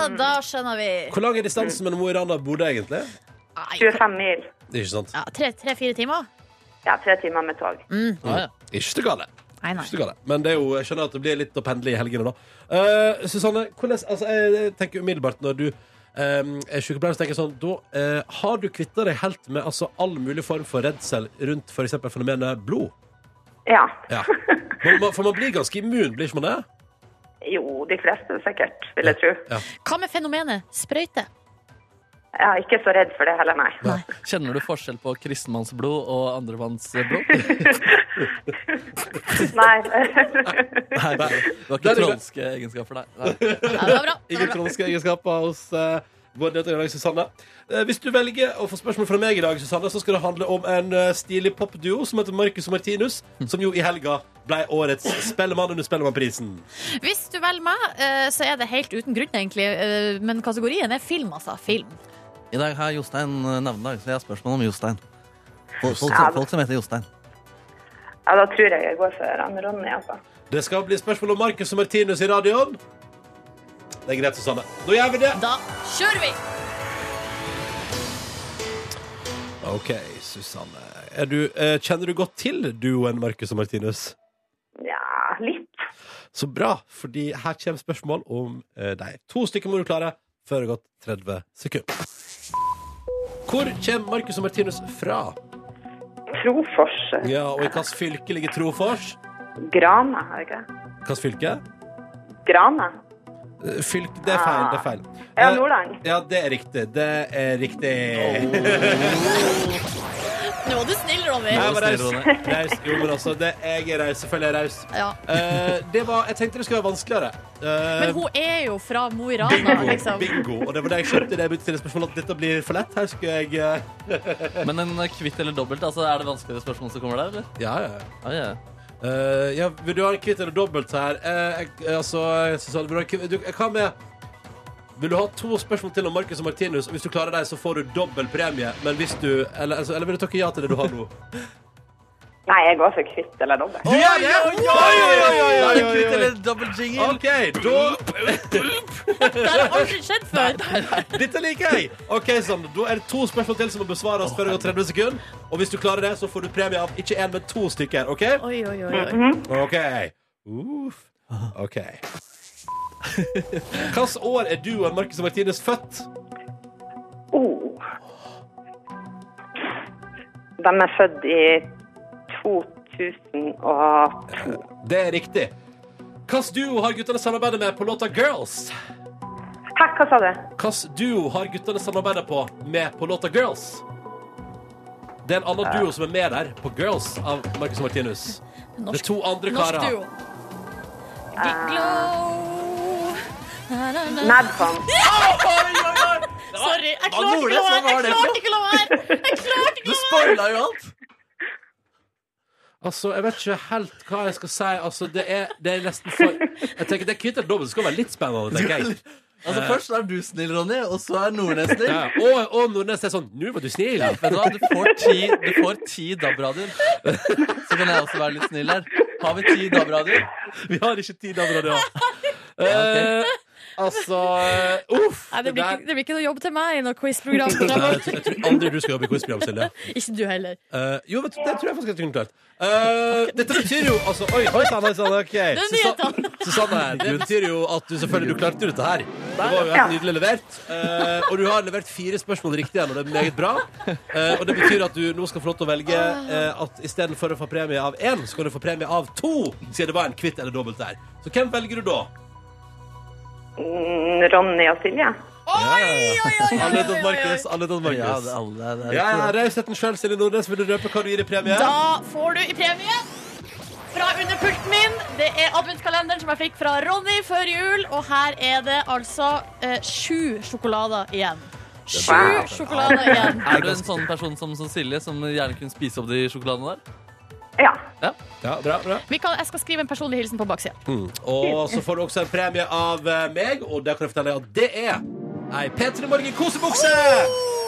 S3: Ja, da skjønner vi.
S2: Hvor lang er distansen mellom Mo i Rana og Bodø, egentlig?
S3: Nei,
S7: 25 mil.
S2: Det er ikke sant.
S3: Ja, Tre-fire timer? Mm.
S7: Ja, tre timer med tog.
S4: Ah, ja.
S2: Ikke så gale.
S3: Nei, nei.
S2: Ikke så gale. Men det er jo, jeg skjønner at det blir litt å pendle i helgene, da. Eh, Susanne, hvordan, altså, jeg tenker umiddelbart når du eh, er sykepleier, så tenker jeg sånn Da eh, har du kvitta deg helt med altså, all mulig form for redsel rundt f.eks. fenomenet blod.
S7: Ja.
S3: [LAUGHS]
S2: Ja. Man, man, for man blir ganske immun, blir ikke man det?
S7: Jo, de fleste sikkert, vil jeg tro.
S2: Ja.
S3: Hva med fenomenet sprøyte?
S7: Jeg er ikke så redd for det heller, nei.
S3: Nei.
S4: Kjenner du forskjell på kristenmannsblod og [LAUGHS] andremannsblod?
S7: [LAUGHS] Nei.
S4: Nei,
S2: Der
S4: det var
S2: er
S4: ikke
S2: det-
S4: trolske egenskaper, nei. nei.
S2: [LAUGHS]
S3: Ja, det var bra. Det
S2: Ingen
S3: var bra.
S2: trolske egenskaper hos eh, Vår deltaker i dag, Susanne. Eh, Hvis du velger å få spørsmål fra meg i dag, Susanne, så skal det handle om en eh, stilig popduo som heter Marcus og Martinus, som jo i helga ble årets Spellemann under Spellemannprisen.
S3: Hvis du velger meg, eh, så er det helt uten grunn, egentlig. eh, Men kategorien er film, altså. Film.
S4: I dag har Jostein eh, navnedag, så jeg har spørsmål om Jostein. Folk, folk,
S7: Ja.
S4: folk som heter Jostein.
S7: Ja, da tror jeg jeg går for han Ronny, altså.
S2: Det skal bli spørsmål om Marcus og Martinus i radioen. Det er greit, Susanne. Da gjør vi det.
S3: Da kjører vi!
S2: OK, Susanne. Er du, eh, kjenner du godt til duoen Marcus og Martinus?
S7: Ja, litt.
S2: Så bra, fordi her kommer spørsmål om eh, deg. To stykker må du klare før det har gått 30 sekunder. Hvor kommer Marcus og Martinus fra?
S7: Trofors.
S2: Ja, Og i hvilket fylke ligger Trofors?
S7: Grana, har jeg ikke?
S2: Hvilket fylke?
S7: Grana.
S2: Eh, Fylk, det er feil. det er feil
S7: Ah. Ja,
S2: Eh,
S7: Nordland.
S2: Ja, det er riktig. Det er riktig.
S3: Nå var du snill, Ronny.
S2: Jeg var raus. Raus. Jo, men altså, det, jeg er raus. Selvfølgelig er jeg raus.
S3: Ja.
S2: Eh, det var, jeg tenkte det skulle være vanskeligere. Eh,
S3: Men hun er jo fra Mo i Rana,
S2: bingo,
S3: liksom.
S2: bingo. Og det var det jeg skjønte da jeg begynte å stille spørsmål, at dette blir for lett. Her skulle jeg eh,
S4: Men en eh, kvitt eller dobbelt, altså er det vanskeligere spørsmål som kommer der, eller?
S2: Ja, ja, ja.
S4: Ja, ja.
S2: Eh, ja, vil du ha en kvitt eller dobbelt her? Eh, jeg- eh, altså, Susanne, vil du ha en kvitt- du, eh, hva med Vil du ha to spørsmål til om Marcus og Martinus? Og hvis du klarer dem, så får du dobbel premie. Men hvis du Eller, altså, eller vil du takke ja til det du har nå?
S7: Nei, jeg går for kvitt eller dobbelt.
S2: Du gjør det! Oi,
S4: Da er
S2: oi,
S4: det
S2: oi,
S4: kvitt
S2: oi, oi, oi.
S4: eller dobbelt jingle.
S2: OK, da
S3: Det har aldri skjedd før.
S2: Dette liker jeg! Ok, sånn, Da er det to spørsmål til som må besvares før det går 30 sekunder. Og hvis du klarer det, så får du premie av ikke én, men to stykker. OK?
S3: Oi, oi, oi. oi.
S2: OK. Uff. OK. [LAUGHS] Hvilket år er du og Marcus og Martinus født?
S7: Oh. De er født i 2002.
S2: Det er riktig. Hvilken duo har guttene samarbeidet med på låta Girls?
S7: Hæ, hva sa du?
S2: Hvilken duo har guttene samarbeidet på med på låta Girls? Det er en annen duo som er med der, på Girls, av Marcus og Martinus. Det er
S3: Norsk,
S2: to andre
S3: norsk
S2: karer.
S3: duo. Giglo. Na, na, na.
S7: Madcon.
S3: Sorry, jeg
S4: Hva
S3: klarte
S4: gjorde
S3: ikke å la
S4: jeg?
S3: være. Jeg klarte ikke å la være.
S4: Hva var det for?
S3: Jeg klarte ikke
S4: Du
S3: å la være.
S4: spoila jo alt!
S2: Altså, Jeg vet ikke helt hva jeg skal si. Altså, Det er, det er nesten for Jeg tenker Det er kvitt eller dobbelt. Det skal være litt spennende, tenker jeg.
S4: Altså Først er du snill, Ronny, og så er Nordnes snill.
S2: Ja, og, og Nordnes er sånn Nå var du snill.
S4: Vet du hva, du får ti, du får ti DAB-radioer. Så kan jeg også være litt snill her. Har vi ti DAB-radioer?
S2: Vi har ikke tid av radio.
S4: Ja,
S2: [LAUGHS] Eh, altså eh, Uff!
S3: Nei, det, blir
S2: der-
S3: ikke, det blir ikke noe jobb til meg i noe
S4: [LAUGHS]
S3: quizprogram.
S2: Nei, jeg, tror, jeg tror aldri du skal jobbe i quizprogram, Silje.
S3: Ikke du heller.
S2: Eh, jo, vet du, det tror jeg faktisk at du kunne klart. Eh, dette betyr jo altså, Oi, oi sann, oi sann. OK.
S3: er
S2: Susanne,
S4: sånn
S2: Susanne, det betyr jo at du selvfølgelig du klarte dette her. Det var jo helt nydelig levert. Eh, og du har levert fire spørsmål riktig igjen, og det er meget bra. Eh, og det betyr at du nå skal få lov til å velge uh, at istedenfor å få premie av én, så kan du få premie av to, siden det var en kvitt eller dobbelt der. Så hvem velger du da?
S7: Mm, Ronny og Silje.
S2: Alle utenom Markus. Alle utenom Markus.
S4: Ja, det er alle det er
S2: Ja, ja, rausheten sjøl, Silje Nordnes. Vil du røpe hva du gir i premie?
S3: Da får du i premie fra under pulten min. Det er adventskalenderen som jeg fikk fra Ronny før jul. Og her er det altså eh, sju sjokolader igjen. Sju
S7: bra.
S3: sjokolader igjen.
S4: Er du en sånn person som, som Silje, som gjerne kunne spise opp de sjokoladene der?
S7: Ja.
S2: Ja, bra, bra.
S3: Vi kan, jeg skal skrive en personlig hilsen på baksida.
S2: Og så får du også en premie av eh, meg, og der kan jeg fortelle deg at det er ei P3 Morgen-kosebukse!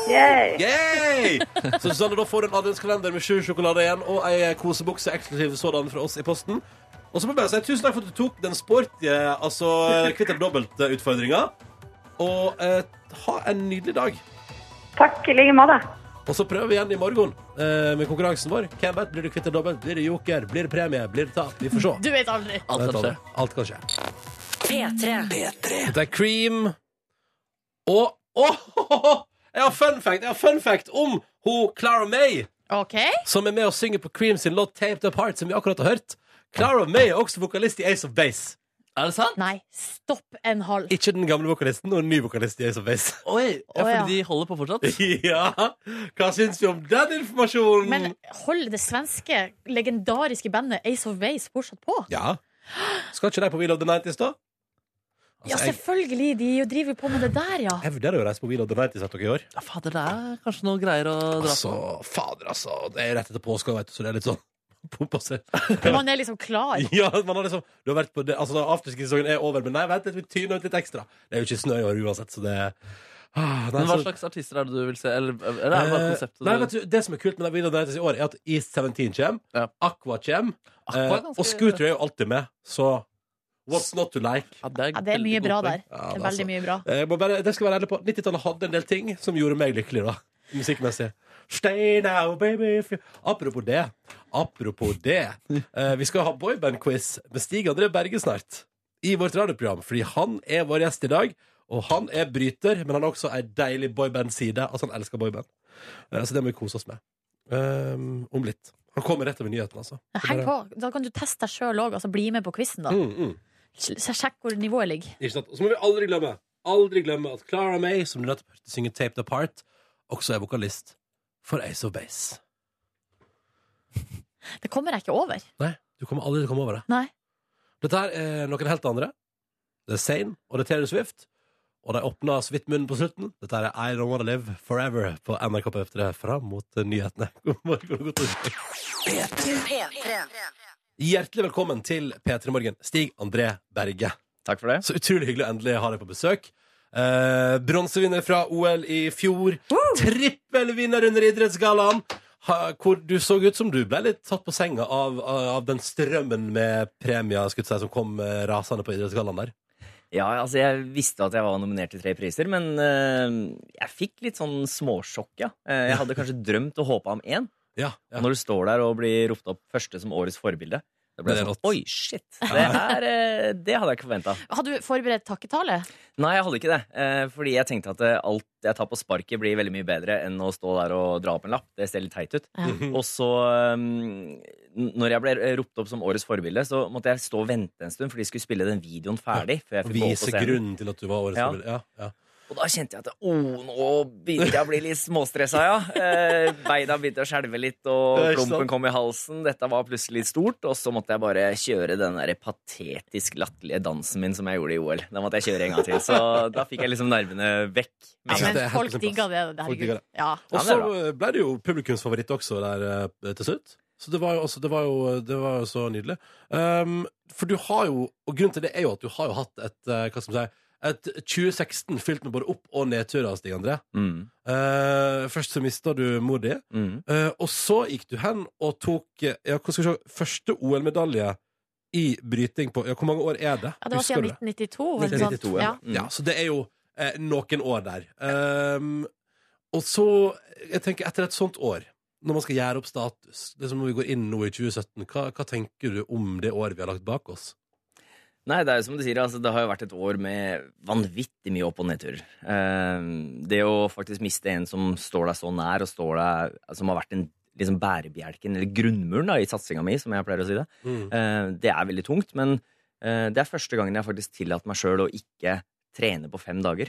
S7: Yay.
S2: Yay! Så Susanne, da får du en adventskalender med sju sjokolader igjen, og ei kosebukse eksklusiv sådan fra oss i posten. Og så må jeg bare si tusen takk for at du tok den sportige altså, kvitt eller dobbelt-utfordringa. Og eh, ha en nydelig dag.
S7: Takk i like måte.
S2: Og så prøver vi igjen i morgen eh, med konkurransen vår. Hvem vet, blir det kvitt eller dobbelt? Blir det joker? Blir det premie? Blir det tap? Vi får se.
S3: Du vet aldri.
S4: Alt kan skje.
S2: Alt kan skje.
S1: P3.
S2: Dette er Cream og Åh! Jeg har fun fact Jeg har fun fact om hun Clara May,
S3: OK?
S2: som er med og synger på Cream sin låt 'Taped Apart', som vi akkurat har hørt. Clara May er også vokalist i Ace of Base.
S4: Er det sant?
S3: Nei, stopp en halv.
S2: Ikke den gamle vokalisten, og en ny vokalist i Ace of Base. [LAUGHS]
S4: Oi, ja,
S3: Å,
S4: fordi
S3: ja.
S4: de holder på fortsatt?
S2: ja, Hva syns vi om den informasjonen?
S3: Men hold det svenske legendariske bandet Ace of Base fortsatt på?
S2: Ja. Skal ikke de på Wheel of the Nineties, da?
S3: Ja,
S2: altså, jeg-
S3: selvfølgelig. De jo driver jo på med det der, ja.
S2: Jeg vurderer jo å reise på Wheel of the Night i dere i år.
S4: Ja, fader, det er kanskje noe greier å dra på.
S2: Altså, fader, altså. Det er rett etter påske, vet du, så det er litt sånn [LAUGHS] pumpa seg.
S3: Man er liksom klar.
S2: [LAUGHS] Ja, man har liksom Du har vært på det Altså, da afterski-sesongen er over, men nei, vent litt, vi tyner ut litt ekstra. Det er jo ikke snø i år uansett, så det ah, nei,
S4: Men hva
S2: så-
S4: slags artister er det du vil se? Eller, eller er det bare altså?
S2: Eh,
S4: konseptet?
S2: Nei,
S4: du-
S2: vet du, det som er kult med den videoen deres i år, er at East 17 kommer,
S4: Ja.
S2: Aqua kommer,
S4: Aqua er
S2: eh,
S4: ganske-
S2: og Scooter er jo alltid med, så what's not to like?
S4: Ja, det er,
S3: Ja, det er
S4: veldig
S3: mye
S4: godt
S3: bra
S4: poeng.
S3: der. Det
S2: altså.
S3: er veldig mye bra.
S2: Eh, Jeg må bare, det skal jeg være ærlig på 90-tallet hadde en del ting som gjorde meg lykkelig, da. Musikkmessig. Stay now, baby if you- Apropos det. Apropos det. Eh, vi skal ha boyband-quiz med Stig André Berge snart. I vårt radioprogram. Fordi han er vår gjest i dag. Og han er bryter, men han har også ei deilig boyband-side. Altså, han elsker boyband. Eh, så det må vi kose oss med. Um, om litt. Han kommer rett over nyheten, altså.
S3: Heng på. Da kan du teste deg sjøl òg. Altså, bli med på quizen, da.
S2: Mm, mm.
S3: Så Sjekk hvor nivået ligger.
S2: Ikke sant? Og så må vi aldri glemme Aldri glemme at Clara May, som du nettopp hørte synge Taped Apart, også er vokalist for Ace of Base.
S3: Det kommer jeg ikke over.
S2: Nei, du kommer aldri til å komme over det.
S3: Nei.
S2: Dette her er noen helt andre. Det er Zayn, og det er Taylor Swift. Og de åpna så vidt munnen på slutten. Dette her er I Don't Wanna Live Forever på NRK P3 fram mot eh, nyhetene. [LAUGHS] God morgen og god torsdag. Hjertelig velkommen til P3 Morgen, Stig André Berge.
S8: Takk for det.
S2: Så utrolig hyggelig å endelig ha deg på besøk. Eh, Bronsevinner fra OL i fjor. Trippelvinner under idrettsgallaen. Ha- Hvor du så ut som du ble litt tatt på senga av, av den strømmen med premier skulle jeg si, som kom eh, rasende på idrettsgallaen der.
S8: Ja, altså Jeg visste at jeg var nominert til tre priser, men eh, jeg fikk litt sånn småsjokk, ja. Eh, jeg hadde
S2: [LAUGHS]
S8: kanskje drømt og håpa om én.
S2: Ja, ja.
S8: Og når du står der og blir ropt opp første som årets forbilde, det ble
S2: Det er
S8: sånn
S2: rått.
S8: Oi, shit! Det, er, eh, det hadde jeg ikke forventa.
S3: Hadde du forberedt takketale?
S8: Nei, jeg hadde ikke det. eh, Fordi jeg tenkte at eh, alt jeg tar på sparket, blir veldig mye bedre enn å stå der og dra opp en lapp. Det ser litt teit ut.
S3: Ja.
S2: Mhm.
S8: Og så um, n- Når jeg ble eh, ropt opp som årets forbilde, så måtte jeg stå og vente en stund, for de skulle spille den videoen ferdig. Før jeg fikk gå opp på
S2: Vise
S8: scenen.
S2: grunnen til at du var årets
S8: Ja.
S2: forbilde. Ja, ja.
S8: Og da kjente jeg at oh, nå begynte jeg å bli litt småstressa, ja. Eh, Beina begynte å skjelve litt, og
S2: Det er ikke sant.
S8: klumpen kom i halsen. Dette var plutselig litt stort, og så måtte jeg bare kjøre den der patetisk latterlige dansen min som jeg gjorde i OL. Den måtte jeg kjøre en gang til, så da fikk jeg liksom nervene vekk.
S3: Ja,
S8: med en gang.
S2: synes
S3: men
S2: det er helt
S3: folk
S2: på sin
S3: digga det.
S2: Folk digger
S3: Herregud.
S2: det.
S3: Ja.
S8: Ja,
S2: Og
S8: men det
S2: så
S8: er bra.
S2: eh, ble det jo publikumsfavoritt også der eh, til slutt. Så det var jo, også, det var jo, det var jo så nydelig. Um, for du har jo Og grunnen til det er jo at du har jo hatt et, eh, hva skal man si, et 2016 fylt med både opp- og nedturer, Stig André.
S8: Mm,
S2: Eh, først så mista du mor di,
S8: mm.
S2: eh, og så gikk du hen og tok eh, ja, hva skal vi se, første OL-medalje i bryting på Ja, hvor mange år er det?
S3: ja, det var
S2: Husker
S3: siden
S2: du det?
S3: 1992. eller noe sånt.
S8: 1992, ja.
S3: sånn- ja.
S8: Mm.
S2: Ja, så det er jo eh, noen år der. Ehm, og så, jeg tenker etter et sånt år, når man skal gjøre opp status, det som vi går inn nå i 2017, hva, hva tenker du om det året vi har lagt bak oss?
S8: Nei, det er jo som du sier, altså, det har jo vært et år med vanvittig mye opp- og nedturer. Eh, det å faktisk miste en som står deg så nær, og står deg, som har vært en liksom, bærebjelken, eller grunnmuren da, i satsinga mi, som jeg pleier å si det,
S2: Mm,
S8: eh, det er veldig tungt. Men eh, det er første gangen jeg faktisk tillater meg sjøl å ikke trene på fem dager.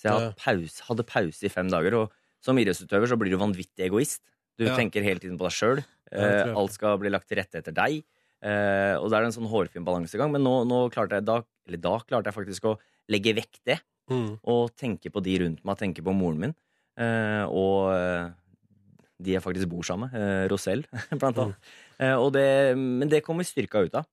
S8: Så jeg
S2: Ja.
S8: hadde pause, hadde pause i fem dager, og som idrettsutøver så blir du vanvittig egoist. Du
S2: Ja.
S8: tenker hele tiden på deg sjøl.
S2: Ja, det tror jeg.
S8: alt skal bli lagt til rette etter deg. Eh, og det er en sånn hårfin balansegang, men nå, nå klarte jeg da, eller da klarte jeg faktisk å legge vekk det,
S2: Mm.
S8: og tenke på de rundt meg, tenke på moren min, eh, og eh, de jeg faktisk bor sammen med, eh, Rosell, [LAUGHS] blant annet.
S2: Mm.
S8: Eh, og det, men det kommer styrka ut av.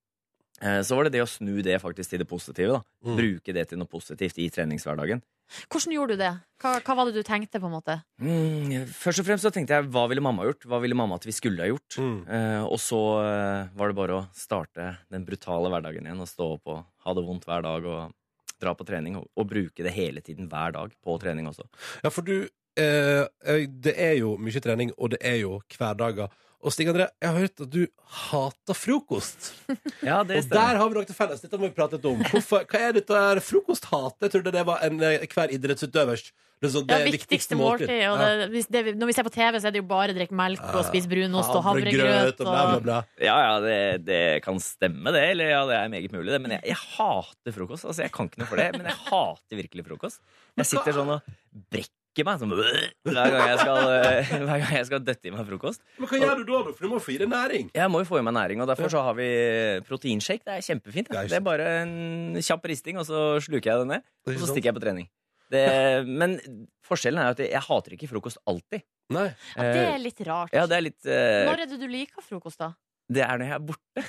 S8: Eh, så var det det å snu det faktisk til det positive, da.
S2: Mm.
S8: Bruke det til noe positivt i treningshverdagen.
S3: Hvordan gjorde du det? Hva, hva var det du tenkte, på en måte?
S8: Mm, først og fremst så tenkte jeg, hva ville mamma gjort? Hva ville mamma at vi skulle ha gjort?
S2: Mm.
S8: Eh, og så eh, var det bare å starte den brutale hverdagen igjen og stå opp og ha det vondt hver dag og dra på trening og, og bruke det hele tiden hver dag på trening også.
S2: Ja, for du eh, eh, Det er jo mye trening, og det er jo hverdager. Og Stig André, jeg har hørt at du hater
S3: [LAUGHS]
S2: frokost.
S8: Ja, det
S2: Og der har vi noe til felles. Dette må vi prate litt om. Hvorfor, hva er dette her frokosthatet? Jeg trodde det var en, eh, hver idrettsutøvers det, er sånn,
S3: Ja,
S2: det
S3: viktigste måltid.
S2: Ja.
S3: Og det, hvis det, når vi ser på TV, så er det jo bare å drikke melk og spise brunost og
S2: Havregrøt
S3: havregrøt.
S2: og bla, bla,
S3: Og...
S2: bla.
S8: Ja, ja, det, det kan stemme det, eller ja, det er meget mulig det, men jeg, jeg hater frokost. Altså, jeg kan ikke noe for det, men jeg hater virkelig frokost. Jeg sitter sånn og brekker knekker meg sånn, hver gang jeg skal, [LAUGHS] eh, hver gang jeg skal døtte i meg frokost.
S2: Men hva gjør du da, for du må få i deg næring?
S8: Jeg må jo få i meg næring, og derfor så har vi proteinshake. Det er kjempefint.
S2: Det er
S8: Det,
S2: ikke
S8: det er bare en kjapp risting, og så sluker jeg det ned.
S2: Det er
S8: Og
S2: ikke
S8: så
S2: sant.
S8: stikker jeg på trening. Det, men forskjellen er jo at jeg hater ikke frokost alltid. Eh,
S2: Nei.
S3: Ja, det er litt rart.
S8: Ja, det er litt eh,
S3: Når er det du liker frokost, da?
S8: Det er når jeg er borte.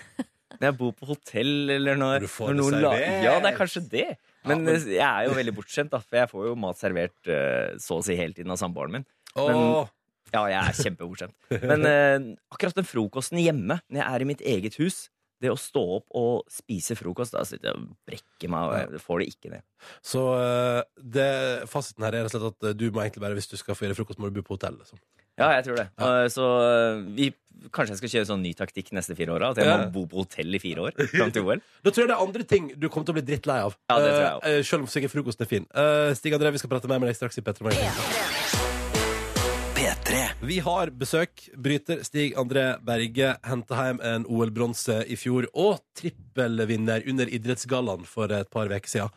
S8: Når jeg bor på hotell, eller
S2: Når
S8: når,
S2: du får
S8: når
S2: det
S8: la-
S2: servert.
S8: Ja, det er kanskje det. Men,
S2: men-
S8: eh, jeg er jo veldig bortskjemt, da, for jeg får jo mat servert eh, så å si hele tiden av samboeren min.
S2: Åh,
S8: Men- Ja, jeg er kjempebortskjemt. Men eh, akkurat den frokosten hjemme, når jeg er i mitt eget hus det å stå opp og spise frokost, da sitter jeg og brekker meg, og jeg får det ikke ned.
S2: Så eh, det, fasiten her er rett og slett at eh, du må egentlig bare, hvis du skal få i deg frokost, må du bo på hotell. Liksom.
S8: Ja, jeg tror det. Eh, Så eh, vi, kanskje jeg skal kjøre sånn ny taktikk neste fire åra. At jeg
S2: Ja.
S8: må bo på hotell i fire år fram til OL.
S2: Da tror jeg det er andre ting du kommer til å bli drittlei av.
S8: Ja, det tror jeg
S2: Eh, eh, selv om sikkert frokosten er fin. Eh, Stig André, vi skal prate mer med deg straks i Petter Morgen. Vi har besøk. Bryter Stig André Berge henta hjem en OL-bronse i fjor og trippelvinner under Idrettsgallaen for et par uker siden.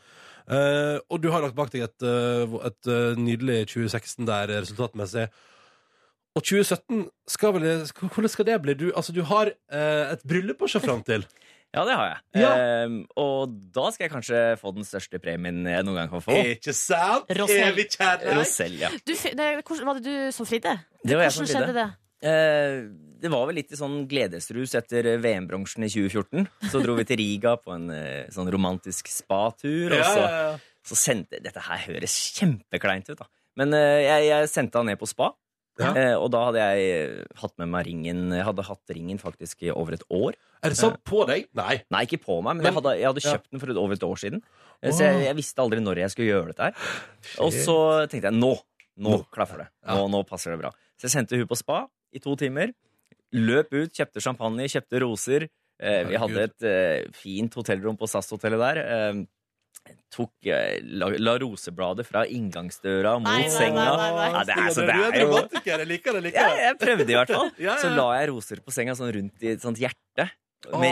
S2: Eh, og du har lagt bak deg et, eh, et eh, nydelig 2016 der eh, resultatmessig. Og 2017, skal vel, hvordan skal det bli? Du, altså, du har eh, et bryllup å se fram til.
S8: Ja, det har jeg.
S2: Ja.
S8: Ehm, og da skal jeg kanskje få den største premien jeg noen gang
S2: [LAUGHS]
S8: kan få.
S2: Ikke sant?
S3: Rosell.
S2: Evig kjærligh.
S8: Rosell, ja.
S3: Du, fi- det, hvordan, var det du som flidde?
S8: Det var jeg som
S3: Hvordan skjedde
S8: flydde.
S3: det?
S8: Eh, det var vel litt i sånn gledesrus etter VM-bronsen i 2014. Så dro vi til Riga på en eh, sånn romantisk spatur, og
S2: Ja,
S8: så,
S2: ja, ja.
S8: så sendte Dette her høres kjempekleint ut, da. Men eh, jeg, jeg sendte han ned på spa,
S2: Ja.
S8: Eh, og da hadde jeg eh, hatt med meg ringen Jeg hadde hatt ringen faktisk i over et år.
S2: Er det sant på deg? Nei.
S8: Nei, ikke på meg, men, jeg,
S2: Men-
S8: hadde, jeg hadde
S2: ja.
S8: kjøpt den for et, over et år siden. Eh,
S2: Åh.
S8: Så jeg, jeg visste aldri når jeg skulle gjøre dette her. Og så tenkte jeg nå, nå klaffer det. Nå, nå passer det bra. Så jeg sendte hun på spa i to timer. Løp ut, kjøpte champagne, kjøpte roser. Eh, vi hadde et eh, fint hotellrom på SAS-hotellet der. Eh, tok, eh, la, la rosebladet fra inngangsdøra mot
S3: Nei, nei, nei,
S8: senga.
S3: nei, nei.
S8: Ja, det er, så
S2: Stian,
S8: det
S2: du er
S8: er jo
S2: dramatiker. Jeg liker det. jeg
S8: ja,
S2: liker det.
S8: jeg prøvde i hvert fall.
S2: [LAUGHS] Ja, ja.
S8: Så la jeg roser på senga sånn rundt i et sånt hjerte. Med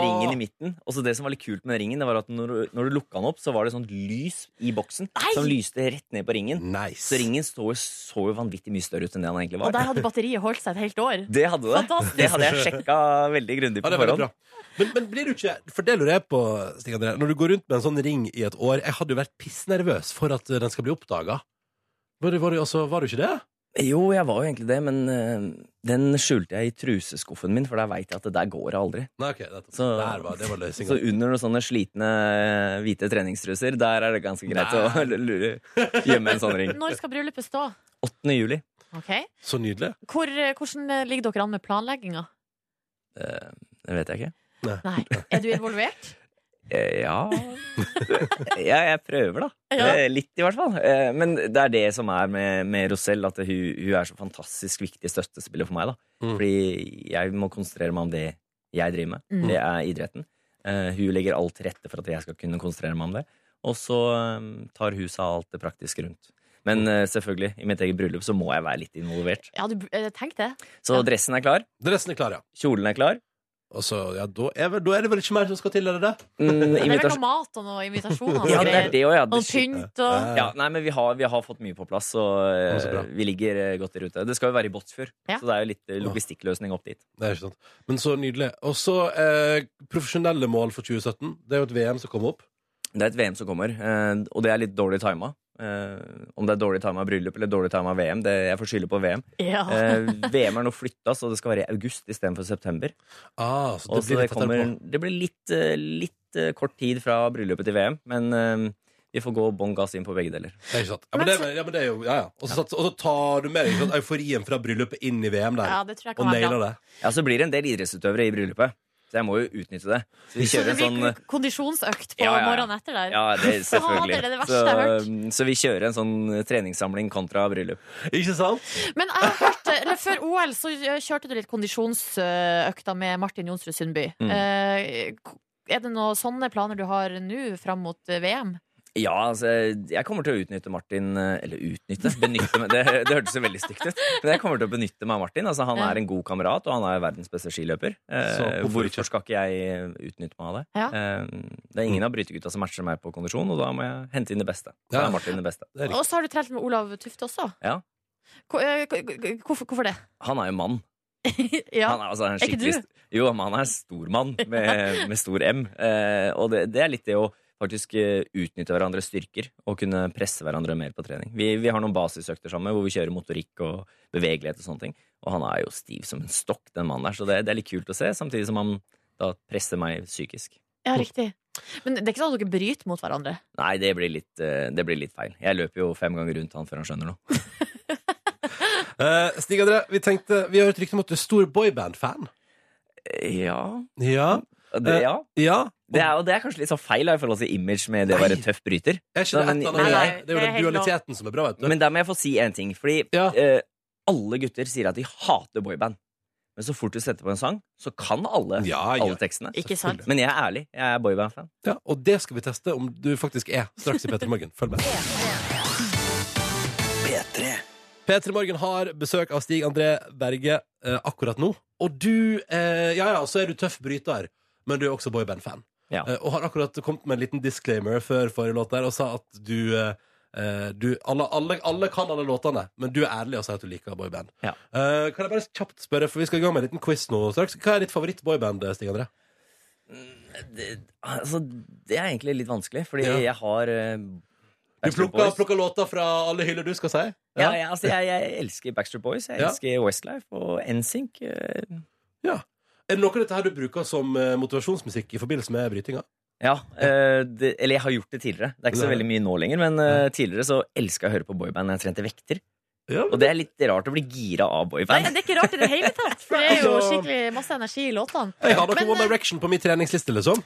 S2: Åh.
S8: ringen i midten. Og så det som var litt kult med den ringen, det var at når du, når du lukka den opp, så var det sånt lys i boksen
S3: Nei!
S8: som lyste rett ned på ringen. Så
S2: Nice.
S8: ringen så, så jo vanvittig mye større ut enn det han egentlig
S3: Og
S8: var.
S3: der hadde batteriet holdt seg et helt år.
S8: [LAUGHS] Det hadde det.
S3: Fantastisk.
S8: Det hadde jeg sjekka veldig grundig
S2: Ja,
S8: på
S2: det er veldig
S8: forhånd.
S2: bra. Men, men blir du ikke For det lurer jeg på, Stig André. Når du går rundt med en sånn ring i et år Jeg hadde jo vært pissnervøs for at eh, den skal bli oppdaga. Var, du- var, du- altså, var du ikke det?
S8: Jo, jeg var jo egentlig det, men eh, den skjulte jeg i truseskuffen min, for der veit jeg at det der går jeg aldri.
S2: Nei, ok, nettopp.
S8: Så-
S2: Der var, det var
S8: Så
S2: løsninga.
S8: under noen sånne slitne eh, hvite treningstruser, der er det ganske greit å [LAUGHS] lure, gjemme en sånn ring.
S3: Når skal bryllupet stå?
S8: 8. juli.
S3: Ok.
S2: Så nydelig.
S3: Hvor, eh, hvordan ligger dere an med planlegginga?
S8: Eh, Det vet jeg ikke.
S3: Nei. Er du
S8: [LAUGHS]
S3: involvert?
S8: Eh, Ja Ja, jeg prøver, da.
S3: Ja.
S8: Eh, Litt, i hvert fall. Eh, Men det er det som er med, med Rosell, at hun, hun er så fantastisk viktig støttespiller for meg. da
S2: Mm.
S8: Fordi jeg må konsentrere meg om det jeg driver med.
S3: Mm.
S8: Det er idretten. Eh, Hun legger alt til rette for at jeg skal kunne konsentrere meg om det. Og så eh, tar hun seg av alt det praktiske rundt. Men eh, selvfølgelig, i mitt eget bryllup så må jeg være litt involvert.
S3: Ja, du, eh, tenk det.
S8: Så
S3: Ja.
S8: dressen er klar.
S2: Dressen er klar, ja.
S8: Kjolen er klar.
S2: Og så, ja da, er vel, da er det vel ikke mer som skal til? Er det det?
S3: [LAUGHS]
S8: Mm,
S3: Det er vel noe
S8: invitasjon
S3: mat og noe invitasjoner.
S8: Ja, det er det òg, ja.
S3: Og
S8: Det-
S3: pynt og
S8: Ja, nei, men vi har, vi har fått mye på plass, så eh,
S2: Eh. Å, så bra.
S8: vi ligger eh, godt i rute. Det skal jo være i Båtsfjord,
S3: Ja.
S8: så det er jo litt eh, logistikkløsning opp dit.
S2: Det er ikke sant. Men så nydelig. Og så eh, profesjonelle mål for 2017. Det er jo et VM som kom opp.
S8: Det er et VM som kommer, eh, og det er litt dårlig tima. Eh, om det er dårlig tima av bryllup eller dårlig tima av VM, det, jeg får skylde på VM.
S3: Ja.
S8: Eh, VM er nå flytta, så det skal være i august istedenfor september.
S2: Ah, så
S8: Og
S2: det blir
S8: så det,
S2: litt tettere
S8: kommer,
S2: på.
S8: det blir litt, eh, litt eh, kort tid fra bryllupet til VM, men eh, vi får gå bånn gass inn på begge deler.
S2: Det er ikke sant. Ja, men det, ja, men det er jo, ja, ja. Og så sats- og så tar du med deg ikke sant, euforien fra bryllupet inn i VM der,
S3: [LAUGHS] ja, det tror jeg
S2: og
S3: kan være
S2: nailer
S3: bra.
S2: det.
S8: Ja, så blir det en del idrettsutøvere i bryllupet, så jeg må jo utnytte det. Så vi
S3: Så
S8: kjører
S3: det
S8: en sånn
S3: blir kondisjonsøkt på
S8: Ja, ja, ja.
S3: morgenen etter der.
S8: Ja, det
S3: [LAUGHS]
S8: selvfølgelig.
S3: Fader, det er det verste
S8: så,
S3: jeg har hørt.
S8: um, så vi kjører en sånn treningssamling kontra bryllup.
S2: Ikke sant?
S3: Men jeg har hørt, eller før OL så kjørte du litt kondisjonsøkta med Martin Jonsrud Sundby.
S8: Mm.
S3: Eh, Er det noen sånne planer du har nå fram mot eh, VM?
S8: Ja, altså, jeg kommer til å utnytte Martin eh, Eller utnytte? Benytte meg. Det, det hørtes jo veldig stygt ut. Men jeg kommer til å benytte meg av Martin. Altså, han
S3: Ja.
S8: er en god kamerat, og han er verdens beste skiløper. Eh,
S2: Så hvorfor
S8: hvorfor
S2: ikke?
S8: skal ikke jeg utnytte meg av det?
S3: Ja.
S8: Eh, det er ingen av brytegutta som matcher meg på kondisjon, og da må jeg hente inn det beste. Da
S2: Ja.
S8: er Martin det beste.
S2: Det er
S3: Og så har du trent med Olav Tufte også.
S8: Ja.
S3: Hvor- eh, hvor- Hvorfor, hvorfor det?
S8: Han er jo mann.
S3: ja.
S8: Han er, altså, en
S3: Er ikke
S8: skikkelig
S3: du?
S8: st- Jo, men han er stor mann
S3: [LAUGHS]
S8: med, med stor M. Eh, og det, det er litt det å faktisk eh, utnytte hverandres styrker og kunne presse hverandre mer på trening. Vi, vi har noen basisøkter sammen hvor vi kjører motorikk og bevegelighet og sånne ting. Og han er jo stiv som en stokk, den mannen der, så det, det er litt kult å se, samtidig som han da presser meg psykisk.
S3: ja, riktig. Men det er ikke sånn at dere bryter mot hverandre?
S8: Nei, det blir litt, eh, det blir litt feil. Jeg løper jo fem ganger rundt han før han skjønner noe.
S2: Eh, Stig André, vi tenkte Vi har hørt rykte om at du er stor boyband-fan.
S8: Ja,
S2: Ja.
S8: det, ja.
S2: ja.
S8: Det er, og det er kanskje litt sånn feil da, i forhold til image med det å
S2: Nei.
S8: være tøff bryter.
S2: Er ikke det
S8: Nei, men-
S2: et eller
S8: Nei,
S2: annet?
S3: nei,
S2: det er jo
S3: det er
S2: den
S3: helt lov.
S2: dualiteten som er bra, vet du.
S8: Men der må jeg få si en ting. Fordi
S2: Ja.
S8: eh, alle gutter sier at de hater boyband. Men så fort du setter på en sang, så kan alle,
S2: ja, ja.
S8: alle tekstene.
S3: Ikke sant?
S8: Men jeg er ærlig. Jeg er boyband-fan.
S2: ja, og det skal vi teste om du faktisk er straks i P3 Morgen. Følg med. P3 Morgen har besøk av Stig André Berge eh, akkurat nå. Og du eh, Ja ja, så er du tøff bryter, men du er også boyband-fan.
S8: Ja.
S2: Eh, og har akkurat kommet med en liten disclaimer før forrige låt der og sa at du eh, eh, du, alle, alle, alle kan alle låtene, men du er ærlig og sier at du liker boyband.
S8: Ja.
S2: Eh, kan jeg bare kjapt spørre, for vi skal i gang med en liten quiz nå straks. Hva er ditt favoritt-boyband, Stig André?
S8: Det, altså, det er egentlig litt vanskelig, fordi
S2: Ja.
S8: jeg har eh,
S2: Du
S8: Backstreet
S2: plukker,
S8: Boys.
S2: plukker låter fra alle hyller du skal si?
S8: Ja, jeg, altså, jeg, jeg elsker Backstreet Boys, jeg
S2: Ja.
S8: elsker Westlife og NSYNC. eh,
S2: Er det noe av dette her du bruker som eh, motivasjonsmusikk i forbindelse med brytinga?
S8: Ja, eh, det, eller jeg har gjort det tidligere. Det er ikke så
S2: Nei.
S8: veldig mye nå lenger, men eh, tidligere så elska jeg å høre på boyband når jeg trente vekter.
S2: Ja,
S8: Og det er litt rart å bli gira av
S3: Nei,
S8: boyband.
S3: det er ikke rart i det hele tatt, for det er jo
S2: Altså-
S3: skikkelig masse energi i låtene.
S2: Jeg har noe
S3: Men,
S2: One
S3: eh,
S2: Direction på min treningsliste, liksom.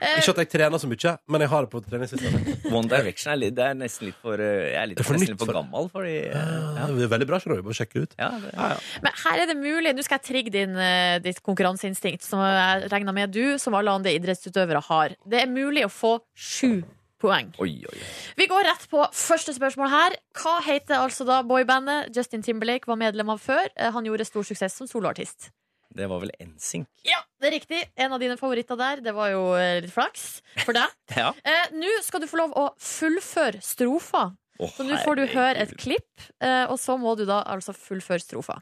S3: Eh,
S2: Ikke at jeg trener så mye, men jeg har det på treningslista.
S8: [LAUGHS]
S2: mi.
S8: One Direction er, litt, det er nesten litt for eh, Jeg er litt,
S2: Det er for nytt
S8: nesten litt for
S2: for-
S8: gammel, fordi eh,
S2: Ja, det er veldig bra, skjønner du. Bare sjekke ut.
S8: ja, det,
S3: Men her er det mulig. Nå skal jeg trigge din, eh, ditt konkurranseinstinkt, som jeg regner med du, som alle andre idrettsutøvere, har. Det er mulig å få sju poeng.
S8: Oi, oi, oi.
S3: Vi går rett på første spørsmål her. Hva heter altså da boybandet Justin Timberlake var medlem av før? Eh, Han gjorde stor suksess som soloartist.
S8: Det var vel NSYNC.
S3: Ja, det er riktig. En av dine favoritter der. Det var jo eh, litt flaks for [LAUGHS] deg.
S8: Ja.
S3: Eh, Nå skal du få lov å fullføre strofa.
S8: Å,
S3: Så nå får du høre et
S8: herregud.
S3: klipp, eh, og så må du da altså fullføre strofa.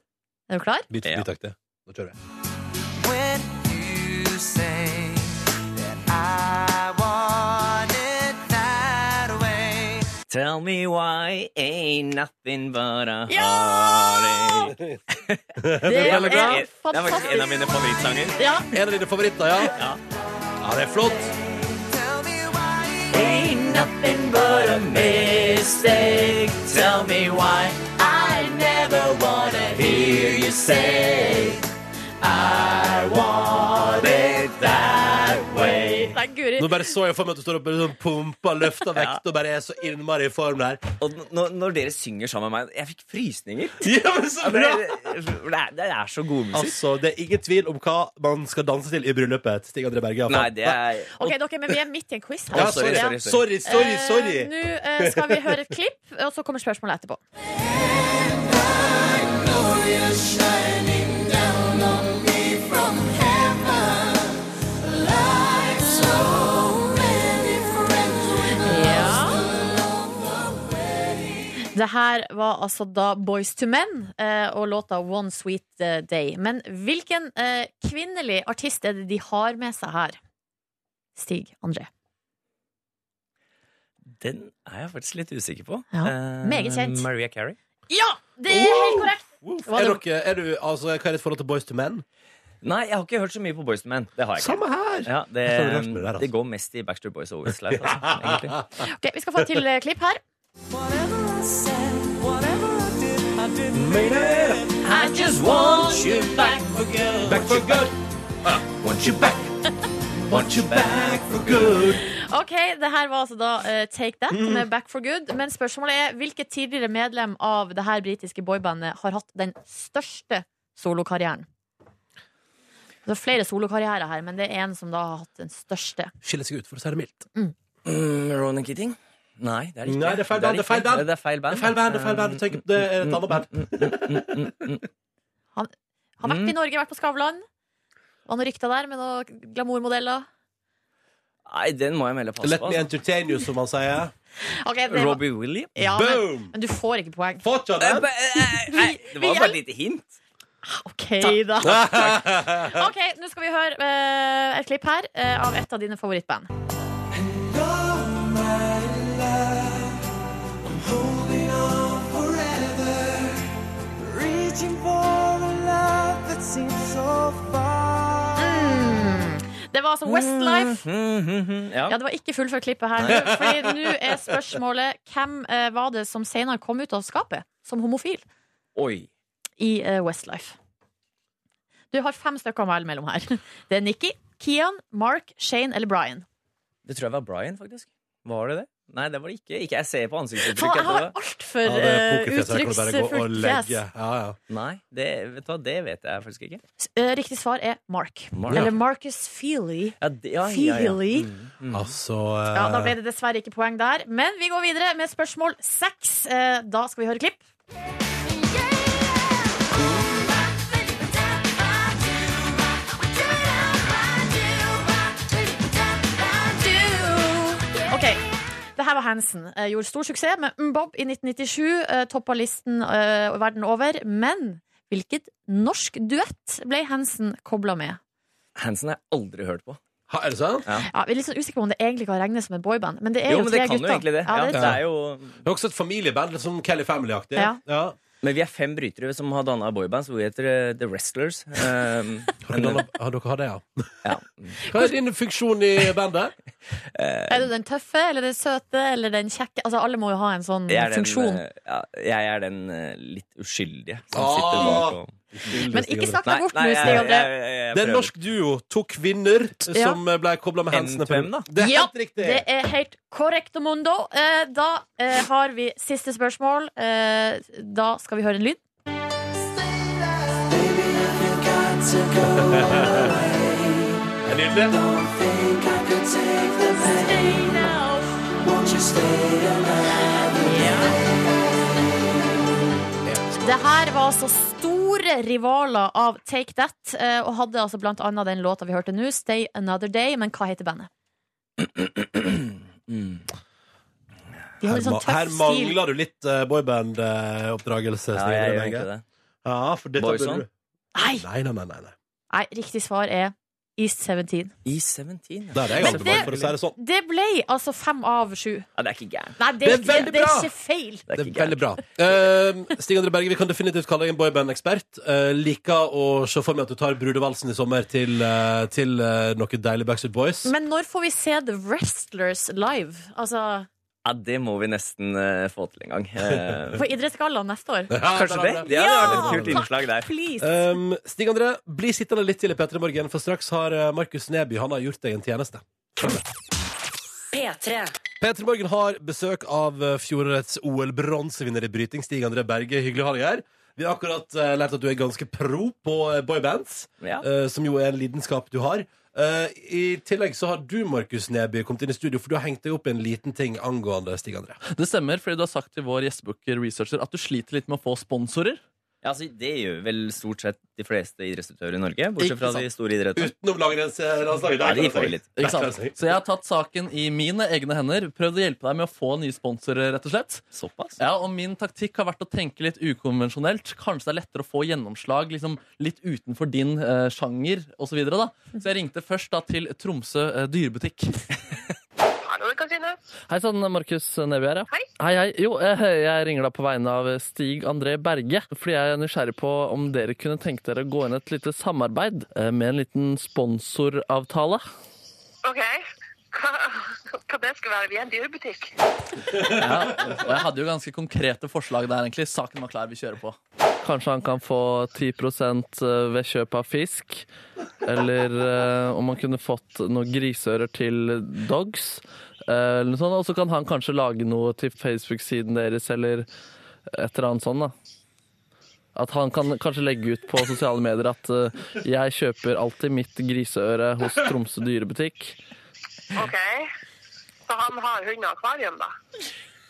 S3: Er du
S8: [LAUGHS]
S3: klar?
S2: Bit for
S8: Ja.
S2: bitaktig. Da kjører vi.
S9: When you say that I want it that way.
S8: Tell me why ain't nothing but a
S3: Ja!
S8: heartache.
S3: Det
S2: er veldig bra.
S8: Det er faktisk en av mine favorittsanger.
S3: Ja,
S2: En av dine favoritter, ja? Ja, det er flott.
S9: Tell me why
S8: Ain't nothing but a mistake. Tell me why I never wanna hear you say I want it that way.
S3: nei, guri.
S2: Nå bare så jeg for meg at du står oppe og sånn pumper, løfter vekt og bare er så innmari i form der.
S8: Og n- når, når dere synger sammen med meg Jeg fikk frysninger.
S2: [LAUGHS] Ja, men så
S8: Ja, for
S2: bra!
S8: Det, for det, er, det er så god musikk.
S2: Altså, Det er ingen tvil om hva man skal danse til i bryllupet til Stig André Berge. i hvert fall.
S8: Nei, det er
S3: Ok, dere, men vi er midt i en quiz her.
S2: ja,
S8: Å,
S2: sorry,
S8: sorry,
S2: sorry,
S8: sorry,
S2: sorry. sorry, sorry.
S3: Eh, Nå eh, skal vi høre et klipp, og så kommer spørsmålet etterpå. Ja. Det her var altså da Boys to Men eh, og låta One Sweet eh, Day. Men hvilken eh, kvinnelig artist er det de har med seg her? Stig André.
S8: Den er jeg faktisk litt usikker på.
S3: Ja,
S8: Eh,
S3: meget kjent.
S8: Maria Carey.
S3: Ja! Det er helt korrekt!
S2: Woof.
S3: Hva
S2: Er
S3: er
S2: dere, er du, altså, hva er ditt forhold til Boys to Men?
S8: Nei, jeg har ikke hørt så mye på Boyz II Men. Det har jeg ikke.
S2: Samme her!
S8: Ja, det,
S2: Jeg tror det er rart med det der, altså.
S8: det går mest i Backstreet Boys og Westlife. Altså,
S2: [LAUGHS]
S8: egentlig.
S3: Ok, Vi skal få et til eh, klipp her. I just want you back
S2: Back for good. Ah, want you back. Want you back for good.
S3: Ok, det her var altså da eh, Take That med Back for Good. Men spørsmålet er hvilket tidligere medlem av det her britiske boybandet har hatt den største solokarrieren? Det er flere solokarrierer her, men det er en som da har hatt den største.
S2: Skiller seg ut, for å si det mildt.
S8: Mm, Ronan Keating? Nei, det er ikke
S2: Nei, det er feil band, det er feil band.
S8: Det er feil
S2: Det
S8: band.
S2: er feil band, det er feil band. Du tenker på det er et annet band.
S3: Har vært
S8: Mm.
S3: i Norge, vært på Skavlan. Var noen rykter der med noen glamourmodeller.
S8: Um, Nei, den må jeg melde pass
S2: Let
S8: på.
S2: me
S8: Altså.
S2: entertain you, som han sier.
S3: Ok, det var-
S8: Robbie Williams?
S3: ja, men, eh,
S2: Boom!
S3: men du får ikke poeng.
S2: Fortsatt
S8: Eh,
S2: den.
S8: ba- eh, eh, Nei, det var bare et lite hint.
S3: OK, da. [LAUGHS] Ok, Nå skal vi høre eh, et klipp her eh, av et av dine favorittband. Mm. Det var altså Westlife.
S8: Mhm, mhm,
S3: Ja,
S8: Ja.
S3: Det var ikke fullført klippet her nå. Fordi nå er spørsmålet hvem eh, var det som senere kom ut av skapet som homofil
S8: Oi.
S3: i eh, Westlife? Du har fem stykker å melde mellom her. [LAUGHS] Det er Nikki, Kian, Mark, Shane eller Brian.
S8: Det tror jeg var Brian, faktisk. Var det det? Nei, det var det ikke. Ikke jeg ser på
S3: Faen,
S8: ansiktsuttrykket.
S3: jeg har
S8: etterpå.
S2: Ja,
S3: altfor
S2: det er
S3: eh,
S2: pokerfjes, jeg kan bare gå og
S3: uttrykksfullt
S2: legge.
S3: fjes.
S2: Ja, ja.
S8: Nei, det vet, du, hva, det vet jeg faktisk ikke.
S3: Eh, Riktig svar er Mark.
S8: Mark.
S3: Eller Marcus Feely.
S8: Ja, det, ja, ja, ja.
S3: Feely.
S2: Altså
S3: Ja, Da
S2: eh,
S3: ble det dessverre ikke poeng der. Men vi går videre med spørsmål seks. Eh, Da skal vi høre klipp. Ok, det her var Hansen. Eh, Gjorde stor suksess med Mbob i 1997. eh, Toppa listen eh, verden over. Men hvilket norsk duett ble Hansen kobla med?
S8: Hansen har jeg aldri hørt på.
S2: ha, Er det sant?
S3: Ja, vi er litt sånn usikre på om det egentlig kan regnes som et boyband. Men det er
S8: Jo,
S3: jo,
S8: men
S3: tre
S8: det kan jo
S3: gutter.
S8: egentlig det.
S3: Ja,
S8: Ja,
S3: det er
S8: det er jo...
S2: Det er også et familieband, litt sånn Kelly Family-aktig.
S3: Ja.
S8: Men vi er fem brytere som har danna boyband, så vi heter eh, The
S3: [LAUGHS]
S8: Wrestlers. Um,
S2: Har dere eh, har dere hatt det, ja?
S8: ja.
S2: [LAUGHS] Hva er din funksjon i bandet?
S3: Er du den tøffe, eller den søte, eller den kjekke? Altså, alle må jo ha en sånn
S8: jeg, er den,
S3: funksjon.
S8: eh, ja, jeg er den eh, litt uskyldige som
S2: Ah!
S8: sitter bak og
S3: Men ikke snakk deg bort nå,
S8: jeg-
S3: Stig
S8: jeg-
S3: André.
S8: jeg-
S2: Det er
S8: jeg
S2: en
S8: prøver.
S2: norsk duo, to kvinner,
S3: Ja.
S2: som eh, ble kobla med hendene på
S8: N-Twem, da.
S2: Det er
S3: Ja,
S2: helt riktig!
S3: Det er helt korrekt, Mondo. Eh, Da eh, har vi siste spørsmål. Eh, Da skal vi høre en lyd.
S2: Det er nydelig.
S3: Det her var altså store rivaler av Take That, eh, og hadde altså blant annet den låta vi hørte nå, Stay Another Day, men hva heter bandet? De hadde
S2: Her,
S3: sånn
S2: ma- her
S3: tøff stil.
S2: mangler du litt eh, boyband-oppdragelse.
S8: Ja, jeg gjør egentlig det.
S2: Ja, for dette burde
S8: Boyzone?
S2: du-
S3: Nei,
S2: Nei, nei, nei. nei, nei.
S3: nei, riktig svar er East 17.
S8: I 17.
S2: Det er jeg
S3: Men
S2: aldri
S3: det-
S2: bare for å si det sånn.
S3: Det ble altså fem av sju.
S8: Ja, det er ikke gærent.
S3: Nei, det er,
S2: Det er
S3: ikke,
S2: veldig
S3: det er
S2: bra.
S3: ikke feil.
S8: Det er
S2: Det er
S8: ikke
S2: veldig
S8: gærent.
S2: bra. Ehm, [LAUGHS] Stig André Berge, vi kan definitivt kalle deg en boyband-ekspert. Eh, liker å se for meg at du tar brudevalsen i sommer til, eh, til eh, noe deilig Backstreet Boys.
S3: Men når får vi se The Wrestlers live? Altså
S8: Ja, det må vi nesten eh, få til en
S2: [LAUGHS]
S8: gang. Eh,
S3: på Idrettsgallaen neste år?
S2: [LAUGHS] Ja,
S8: kanskje
S2: der har
S8: det?
S2: du
S8: Det hadde vært et kult
S3: Ja,
S8: innslag der.
S3: Please.
S2: Ehm, Stig André, bli sittende litt til i P3 Morgen, for straks har eh, Markus Neby han har gjort deg en tjeneste.
S1: P3.
S2: P3 Morgen har besøk av eh, fjorårets OL-bronsevinner i bryting, Stig André Berge. Hyggelig å ha deg her. Vi har akkurat eh, lært at du er ganske pro på eh, boybands,
S8: Ja.
S2: eh, som jo er en lidenskap du har. Eh, I tillegg så har du, Markus Neby, kommet inn i studio, for du har hengt deg opp i en liten ting angående Stig André.
S4: Det stemmer, fordi du har sagt til vår gjestebooker researcher at du sliter litt med å få sponsorer.
S8: Ja, altså, det gjør vel stort sett de fleste idrettsutøvere i Norge, bortsett
S4: Ikke
S8: fra
S4: sant.
S8: de store idrettene.
S2: Utenom langrennslandslaget.
S8: Ja, de får jo litt.
S4: Ikke sant? Så jeg har tatt saken i mine egne hender, prøvd å hjelpe deg med å få nye sponsorer, rett og slett.
S8: Såpass?
S4: Ja, og min taktikk har vært å tenke litt ukonvensjonelt. Kanskje det er lettere å få gjennomslag liksom, litt utenfor din eh, sjanger osv. Så, da. så jeg ringte først da til Tromsø eh, dyrebutikk.
S10: [LAUGHS] Hallo, Katrine.
S4: Hei sann, Markus Neby her. Ja. Hei. hei, Jo, eh, jeg ringer da på vegne av Stig André Berge. Fordi jeg er nysgjerrig på om dere kunne tenke dere å gå inn i et lite samarbeid eh, med en liten sponsoravtale.
S10: Ok. Hva, hva det skal være? Vi er en dyrebutikk.
S4: Ja, og jeg hadde jo ganske konkrete forslag der, egentlig. Saken var klar, vi kjører på. Kanskje han kan få 10 ved kjøp av fisk. Eller eh, om han kunne fått noen griseører til dogs. eh, Eller noe sånt. Og så kan han kanskje lage noe til Facebook-siden deres, eller et eller annet sånt. da. At han kan kanskje legge ut på sosiale medier at eh, 'jeg kjøper alltid mitt griseøre hos Tromsø dyrebutikk'.
S10: Ok. Så han har hundeakvarium, da.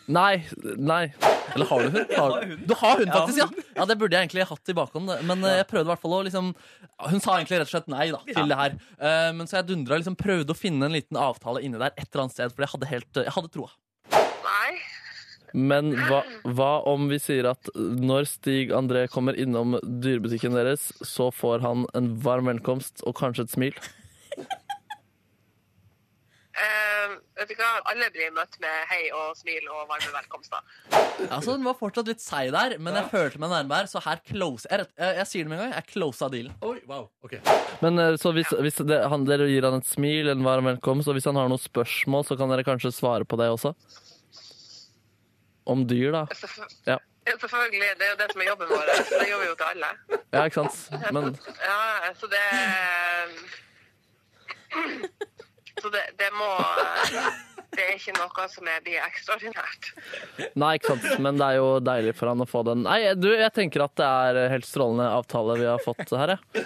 S4: Nei. nei Eller har du [LAUGHS] hund? Har... Du har hund, faktisk, ja! Ja, Det burde jeg egentlig hatt i bakhånd. Men eh, jeg prøvde i hvert fall å liksom Hun sa egentlig rett og slett nei da til det her. Eh, Men så jeg dundra liksom prøvde å finne en liten avtale inni der et eller annet sted, for jeg hadde helt eh, Jeg hadde troa.
S10: Nei.
S4: Men hva, om vi sier at når Stig André kommer innom dyrebutikken deres, så får han en varm velkomst og kanskje et smil?
S10: Eh, vet du hva? Alle blir møtt med hei og smil og varme velkomster.
S4: Altså, Den var fortsatt litt seig der, men jeg følte meg nærmere, så her close Jeg, rett- jeg, jeg sier det med en gang, jeg closa dealen.
S2: Oi, wow, ok
S4: Men eh, så hvis, hvis det, han, dere gir han et smil, en varm velkomst, og hvis han har noen spørsmål, så kan dere kanskje svare på det også? Om dyr, da.
S10: Selvfø-
S4: Ja,
S10: ja, Selvfølgelig. Det er jo det som er jobben vår. Det gjør vi jo til alle.
S4: ja ikke sant? Men
S10: Ja, så det Så det, det må Det er ikke noe som er, blir ekstraordinært.
S4: Nei, ikke sant. Men det er jo deilig for han å få den. Nei, du, jeg tenker at det er helt strålende avtale vi har fått her, jeg.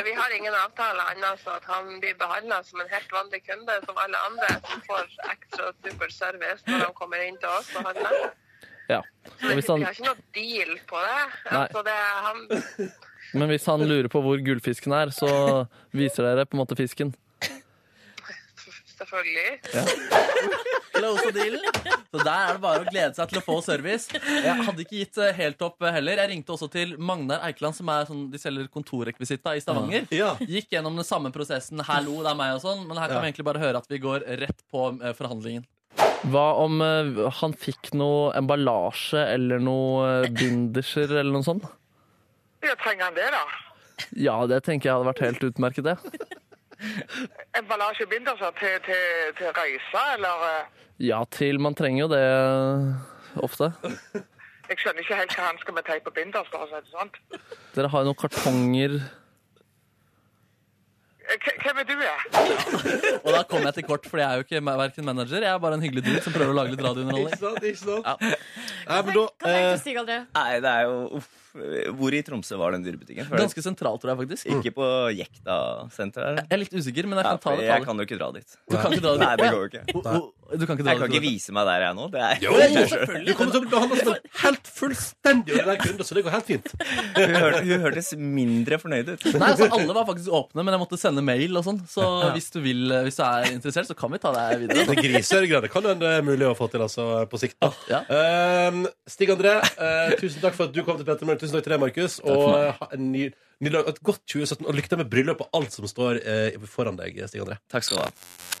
S10: Vi har ingen avtale annet enn at han blir behandla som en helt vanlig kunde, som alle andre som får ekstra super service når han kommer inn til oss og handler.
S4: Ja. Og hvis
S10: Vi
S4: han,
S10: har ikke noe deal på det.
S4: Nei.
S10: Altså, det er han
S4: men hvis han lurer på hvor gullfisken er, så viser dere på en måte fisken.
S10: Selvfølgelig.
S4: Close dealen. Så der er det bare å glede seg til å få service. Jeg hadde ikke gitt eh, helt opp eh, heller. Jeg ringte også til Magnar Eikeland, som er sånn, de selger kontorrekvisitta i Stavanger.
S2: Ja.
S4: Gikk gjennom den samme prosessen. Hallo, det er meg og sånn. Men her kan
S2: Ja.
S4: vi egentlig bare høre at vi går rett på eh, forhandlingen. Hva om eh, han fikk noe emballasje eller noe binderser eller noe sånt?
S10: Ja, trenger han det, da?
S4: Ja, det tenker jeg hadde vært helt utmerket, det.
S10: Emballasjebinder så, til, til, til reiser, eller eh,
S4: Ja til. Man trenger jo det eh, ofte.
S10: Jeg skjønner ikke helt hva han skal med teip og binders, for å si det sånn.
S4: Dere har jo noen kartonger
S10: Eh, hva- Hvem er du, er?
S4: Og da kom jeg til kort, for jeg er jo ikke verken manager, jeg er bare en hyggelig dude som prøver å lage litt radiounderholdning.
S2: sant, ikke sant?
S4: Ja.
S2: Nei, men da
S3: Hva tenker du, Stig André?
S8: Nei, det er jo uff, Hvor i Tromsø var den dyrebutikken? For
S4: Ganske sentralt, tror jeg faktisk.
S8: Ikke på Jekta-senteret?
S4: Jeg er litt usikker, men jeg
S8: Ja,
S4: kan ta
S8: for
S4: det. Ta
S8: jeg
S4: det.
S8: kan jo ikke dra dit.
S4: Du kan ikke dra
S8: Nei,
S4: [LAUGHS] det.
S8: det går jo ikke.
S4: Å, Du kan ikke dra
S8: Jeg kan ikke
S4: det.
S8: vise meg der jeg er nå. Det er
S2: Jo, du kommer til å bli behandlet som en helt fullstendig ordinær kunde, så det går helt fint.
S8: [LAUGHS] Hun, hør, hun hørtes mindre fornøyd ut.
S4: Nei, altså Alle var faktisk åpne, men jeg måtte sende mail og sånn. Så hvis du vil, eh, hvis du er interessert, så kan vi ta deg videre.
S2: Det grisørgreiene kan jo være mulig å få til altså, på sikt. da.
S4: Ja.
S2: Ehm, Stig André, eh, tusen takk for at du kom til Petter Morgen. Tusen takk til deg, Markus. Og eh, ha en ny, ny dag, et godt 2017, og lykke til med bryllup og alt som står eh, foran deg, Stig André.
S8: Takk skal du ha.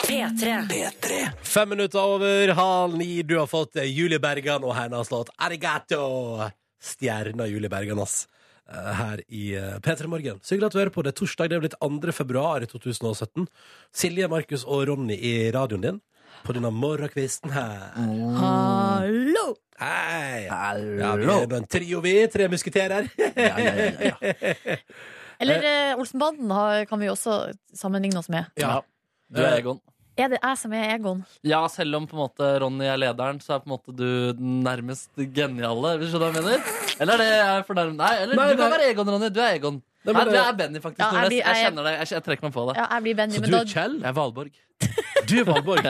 S1: P3.
S2: Fem minutter over halv ni. Du har fått eh, Julie Bergan og hennes låt 'Arigato'. Stjerna Julie Bergan, ass. Eh, Her i eh, P3 Morgen. Så hyggelig at du hører på. Det er torsdag, det er blitt 2. februar i 2017. Silje, Markus og Ronny i radioen din på denne morgenkvisten her.
S3: Hallo!
S2: Hei! Ja, vi er en trio, vi. Tre musketerer. [LAUGHS]
S3: Eller eh, Olsenbanden har, kan vi jo også sammenligne oss med.
S2: Ja.
S4: Du er Egon.
S3: Er det jeg som er Egon?
S4: Ja, selv om på en måte Ronny er lederen, så er på en måte du den nærmest geniale. Hvis du skjønner hva jeg mener? Eller er det jeg er fornærmet? Nei, eller
S2: Nei,
S4: du kan
S2: nei.
S4: være Egon, Ronny. Du er Egon. Nei,
S2: Nei, men
S4: du
S2: det-
S4: er Benny, faktisk.
S3: Ja, jeg
S4: Nordnes.
S3: blir-
S4: Jeg
S3: jeg-
S4: kjenner deg. Jeg, jeg trekker meg på det.
S3: Ja, jeg blir Benny.
S2: Så
S3: Men
S2: du
S3: da
S2: er Kjell?
S4: Jeg er Valborg.
S2: Du er Valborg.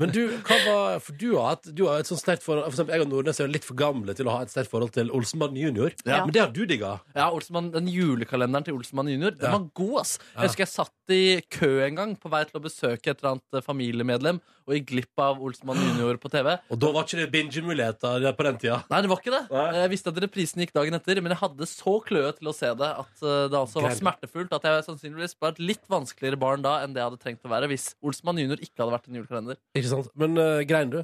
S2: Men du, hva var, for du har, hatt, du har et sånt sterkt forhold For eksempel jeg og Nordnes er jo litt for gamle til å ha et sterkt forhold til Olsenmannen junior.
S3: Ja.
S2: Men det har du digga.
S4: Ja, Olsenmann, Den julekalenderen til Olsenmann jr. Den
S2: Ja.
S4: var god. ass Jeg husker jeg satt i kø en gang på vei til å besøke et eller annet eh, familiemedlem og gikk glipp av Olsenmann jr. på TV.
S2: Og da var ikke det binge-muligheter på den tida.
S4: Nei, det var ikke det. Eh,
S2: Nei.
S4: Jeg visste at reprisen gikk dagen etter, men jeg hadde så kløe til å se det at eh, det altså var
S2: Greier.
S4: smertefullt at jeg sannsynligvis var et litt vanskeligere barn da enn det jeg hadde trengt å være hvis Olsenmann jr. ikke hadde vært en julekalender.
S2: Ikke sant? Men uh, grein du?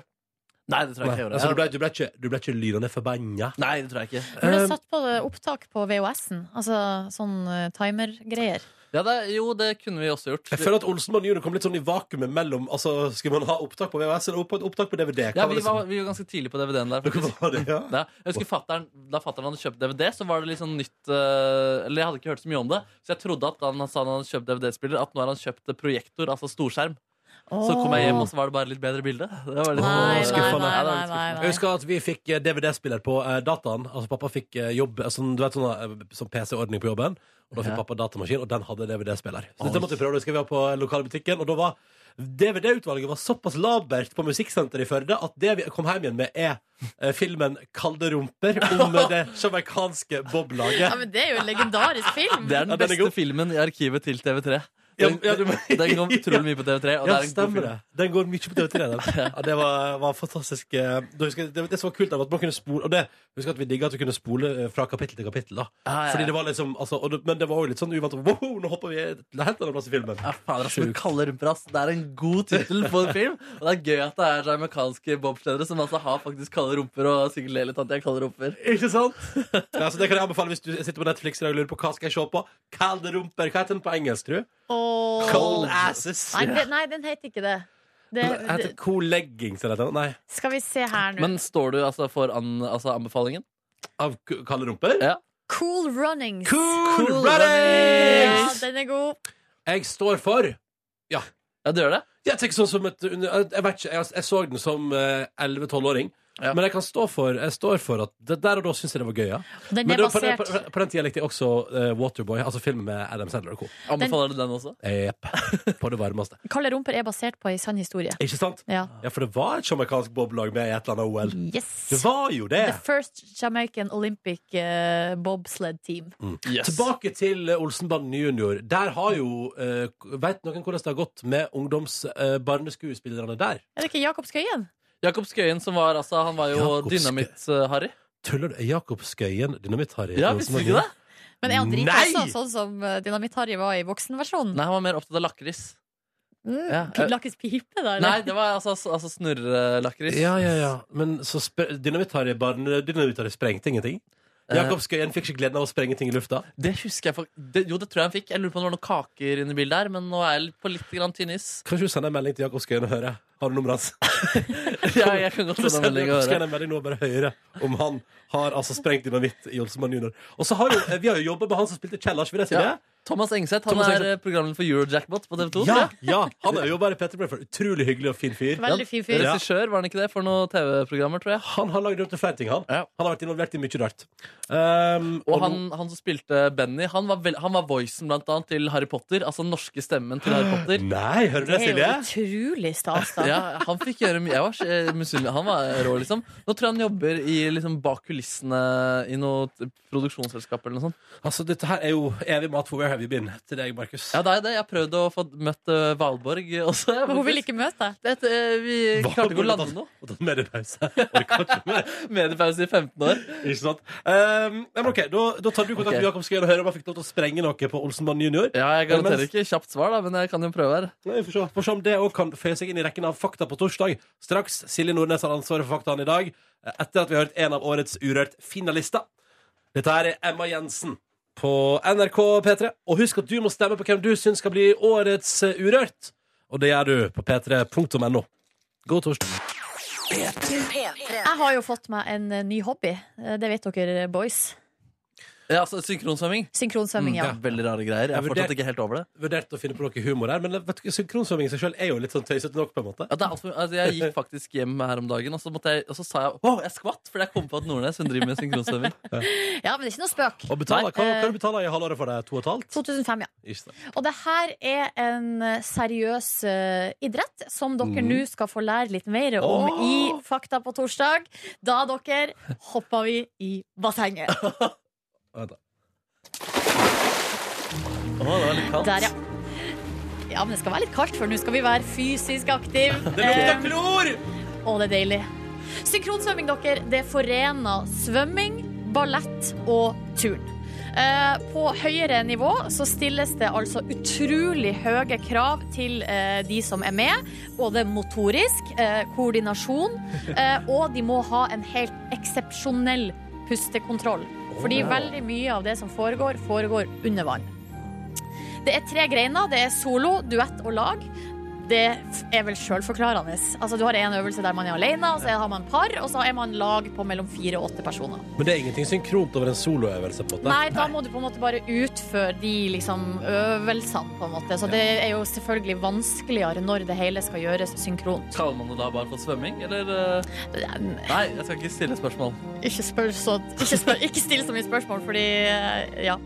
S4: Nei, det tror jeg ikke jeg
S2: Altså, du,
S4: gjorde.
S2: ble, du, ble ikke, du ble ikke lynende forbanna?
S4: Nei, det tror jeg ikke.
S3: Har du
S2: Eh,
S3: satt på eh, opptak på VHS-en? Altså sånn eh, timer-greier.
S4: Ja, det, jo, det kunne vi også gjort.
S2: Jeg føler at Olsenmann junior kom litt sånn i vakuumet mellom altså, Skulle man ha opptak på VHS eller opp- opptak på DVD? Hva
S4: Ja,
S2: var
S4: vi
S2: det som-
S4: var, vi var ganske tidlig på DVD-en der. faktisk.
S2: Hva var det, ja?
S4: Ja, jeg husker fatteren, Da fatteren hadde kjøpt DVD, så var det litt sånn nytt eh, Eller jeg hadde ikke hørt så mye om det, så jeg trodde at da han sa han hadde kjøpt DVD-spiller, at nå har han kjøpt eh, projektor, altså storskjerm. Så kom jeg hjem, og så var det bare litt bedre bilde. Det var litt sånn
S3: Nei, nei,
S4: skuffende.
S3: nei,
S4: Ja, det
S3: nei,
S4: var litt
S3: nei,
S4: skuffende.
S2: Jeg husker at vi fikk eh, DVD-spiller på eh, dataen. Altså Pappa fikk eh, jobb eh, sånn, du vet, sånn, eh, sånn PC-ordning på jobben. Og Da fikk
S4: Ja.
S2: pappa datamaskin, og den hadde DVD-spiller. Så dette måtte vi prøve. Det skal vi ha på eh, lokalbutikken Og da var DVD-utvalget var såpass labert på Musikksenteret i Førde at det vi kom hjem igjen med, er eh, filmen 'Kalde rumper'
S3: [LAUGHS]
S2: om det sjamaikanske
S3: Ja,
S2: boblaget.
S3: men det er jo en legendarisk film.
S4: Det er
S2: Ja,
S4: den
S2: den er
S4: beste
S2: god.
S4: filmen i arkivet til TV3.
S2: Ja,
S4: Den,
S2: ja, du må-
S4: den kom utrolig mye på TV3, og det
S2: Ja,
S4: er en god
S2: stemmer
S4: film.
S2: det. Den går mye på TV3.
S4: [LAUGHS]
S2: Den. Ja, det var, var fantastisk. eh, Da husker jeg, det, det som var kult, der var at man kunne spole Og det husker jeg at vi digga at vi kunne spole eh, fra kapittel til kapittel. da
S4: Ah, Ja, ja.
S2: Fordi det var liksom altså, og det, Men det var jo litt sånn uvant. Wow, nå hopper vi til helt annen plass i filmen.
S4: Ja, fader, ass, men Kalle rumper, ass. Det er en god tittel på en film. Og det er gøy at det er jamaicanske bobsledere som altså har faktisk kalde rumper. Og sikkert ler litt at de har kalde rumper
S2: Ikke sant? ja, så det kan jeg anbefale hvis du sitter på Netflix i dag og lurer på hva skal jeg se på. Kalde rumper. Hva heter den på engelsk, tror du?
S3: Åh.
S2: Cold asses.
S3: Nei, det, nei, den heter ikke det. Det,
S2: Den heter
S3: det.
S2: cool leggings eller noe. Nei.
S3: Skal vi se her nå.
S4: Men står du altså for an, altså anbefalingen?
S2: Av k- kalde rumper?
S4: Ja.
S3: Cool Runnings.
S2: Cool,
S4: Cool
S3: Ja,
S2: runnings!
S3: den er god.
S2: Jeg står for
S4: Ja, du gjør det?
S2: Jeg tenker sånn som et under- Jeg vet ikke, jeg, jeg så den som eh, 11-12-åring.
S4: Ja.
S2: Men jeg kan stå for, jeg står for at det der og da syns jeg det var gøy, ja.
S3: Den
S2: Men
S3: er
S2: det, på, den-
S3: basert
S2: på, på den tida likte jeg også eh, Waterboy, altså filmen med Adam Sandler og co.
S4: Anbefaler du den også?
S2: Jepp. [LAUGHS] På det varmeste.
S3: Kalle Rumper er basert på ei sann historie.
S2: Ikke sant?
S3: Ja.
S2: Ja, for det var et sjamaikansk boblag med i et eller annet OL.
S4: Mm.
S2: Det
S3: Yes.
S2: var jo det!
S3: The first Jamaican Olympic eh, bobsled team.
S2: Tilbake til eh, Olsenbanden junior. Der har jo eh, Veit noen hvordan det har gått med ungdoms eh, barneskuespillerne der?
S3: Er det ikke Jakob Skøyen?
S4: Jakob Skøyen, som var altså Han var jo
S2: Jakob Skøyen.
S4: Dynamitt-Harry.
S2: Tuller du? Er Jakob Skøyen Dynamitt-Harry?
S4: Ja, visste du ikke det?
S3: Men er han drita
S2: Nei!
S3: også, sånn som eh, Dynamitt-Harry var i voksenversjonen?
S4: Nei, han var mer opptatt av lakris.
S3: Mm.
S4: Ja,
S3: P-
S4: eh.
S3: Lakkes pipe, da? eller?
S4: Nei, det var altså, altså snurrelakris.
S2: Ja, ja, ja. Men så sp- Dynamitt-Harry barne- Dynamitt-Harry sprengte ingenting.
S4: Eh.
S2: Jakob Skøyen fikk ikke gleden av å sprenge ting i lufta.
S4: Det husker jeg fak- det, Jo, det tror jeg han fikk. Jeg lurer på om det var noen kaker inne i bildet her, men nå er jeg litt- på litt grann tynn is.
S2: Kanskje du sender en melding til Jakob Skøyen og hører? Har du nummeret hans? [LAUGHS]
S4: Ja, jeg kan godt
S2: Kan du
S4: sende en
S2: sende Jakob
S4: melding og høre.
S2: Skøyen en melding nå og bare høre om han har altså sprengt dynamitt i Olsenmann junior? Og så har jo, eh, vi har jo jobba med han som spilte Kjellars, vil jeg si
S4: Ja.
S2: det?
S4: Thomas Engseth han
S2: Thomas
S4: er
S2: Engseth.
S4: eh, programleder for Eurojackpot på TV 2.
S2: Ja, ja, han er jo bare Petter Brenford. Utrolig hyggelig og fin fyr.
S3: Veldig fin fyr.
S2: Ja.
S4: Regissør, var han ikke det, for noen TV-programmer, tror jeg.
S2: Han har lagd opp til flere ting, han.
S4: Ja.
S2: Han har vært involvert i mye rart. Um,
S4: Og han, han som spilte Benny, han var, vel, han var voicen blant annet til Harry Potter. Altså den norske stemmen til Harry [GASPS] Potter.
S2: Nei, hører du det,
S3: Det er
S2: Silje?
S3: jo utrolig stas, da.
S4: Ja, han fikk gjøre mye. Jeg var så- eh, misunnelig. Han var rå, liksom. Nå tror jeg han jobber i, liksom, bak kulissene i noe t- produksjonsselskap eller noe sånt.
S2: Altså, dette her er jo evig mat for Where Have You Been til deg, Markus.
S4: Ja, det er det. Jeg har prøvd å få møtt eh, Valborg [LAUGHS] også. jeg,
S3: Men hun vil
S4: faktisk.
S3: ikke møte deg.
S4: Det, eh, vi
S2: Hva
S4: klarte ikke å
S2: går det
S4: lande
S2: da?
S4: noe.
S2: Og tatt mediepause. Orker ikke
S4: [LAUGHS]
S2: mer.
S4: Mediepause i 15 år.
S2: Ikke sant? Um, nei, men ok, da, da tar du kontakt
S4: Ok.
S2: med Jakob Skøyen og hører om han fikk lov til å sprenge noe på Olsenmann junior.
S4: Ja, jeg garanterer ikke kjapt svar, da, men jeg kan jo prøve her.
S2: Nei, Får se. Får se om det òg kan føye seg inn i rekken av fakta på torsdag. Straks. Silje Nordnes har ansvaret for faktaene i dag, eh, etter at vi har hørt en av årets Urørt-finalister. Dette her er Emma Jensen på NRK P3. Og husk at du må stemme på hvem du syns skal bli årets eh, Urørt. Og det gjør du på p3.no. God torsdag.
S3: Jeg har jo fått meg en eh, ny hobby. Eh, Det vet dere, boys.
S4: Ja, altså Synkronsvømming.
S2: Mm,
S3: Synkronsvømming, ja.
S4: Veldig rare greier.
S2: Jeg
S4: Jeg er fortsatt
S2: vurderte-
S4: ikke helt over det.
S2: Vurderte å finne på noe humor her, men vet du, ikke, synkronsvømming i seg sjøl er jo litt sånn tøysete nok, på en måte.
S4: Ja, det er alt for, altså, jeg gikk faktisk hjem her om dagen, og så, måtte jeg, og så sa jeg Å, jeg skvatt! Fordi jeg kom på at Nordnes hun driver med synkronsvømming.
S3: Ja, men det er ikke noe spøk.
S2: Og betaler,
S3: Nei,
S2: hva,
S3: eh,
S2: hva du betaler i halvåret for det? To og et halvt?
S3: 2005, ja.
S2: Ikke sant.
S3: Og det her er en eh, seriøs eh, idrett som dere nå skal få lære litt mer om
S2: Åh!
S3: i Fakta på torsdag. Da, dere, hopper vi i bassenget.
S2: Vent da.
S4: Å, det var litt kaldt.
S3: Der, ja. Ja, men det skal være litt kaldt, for nå skal vi være fysisk aktive.
S2: [LAUGHS] Det lukter klor!
S3: Å, det er deilig. Synkronsvømming, dere, det forener svømming, ballett og turn. Eh, på høyere nivå så stilles det altså utrolig høye krav til eh, de som er med. Både motorisk, eh, koordinasjon, eh, og de må ha en helt eksepsjonell pustekontroll. Fordi veldig mye av det som foregår, foregår under vann. Det er tre greiner. Det er solo, duett og lag. det er vel sjølforklarende. Altså, du har en øvelse der man er alene, og så har man par, og så er man lag på mellom fire og åtte personer.
S2: Men det er ingenting synkront over en soloøvelse? på en måte.
S3: Nei, da må du på en måte bare utføre de liksom, øvelsene, på en måte. Så det er jo selvfølgelig vanskeligere når det hele skal gjøres synkront.
S4: Kaller man det da bare for svømming, eller? eh? Nei, jeg skal ikke stille spørsmål.
S3: Ikke, spør så, ikke, spør, ikke still så mye spørsmål, fordi eh, ja.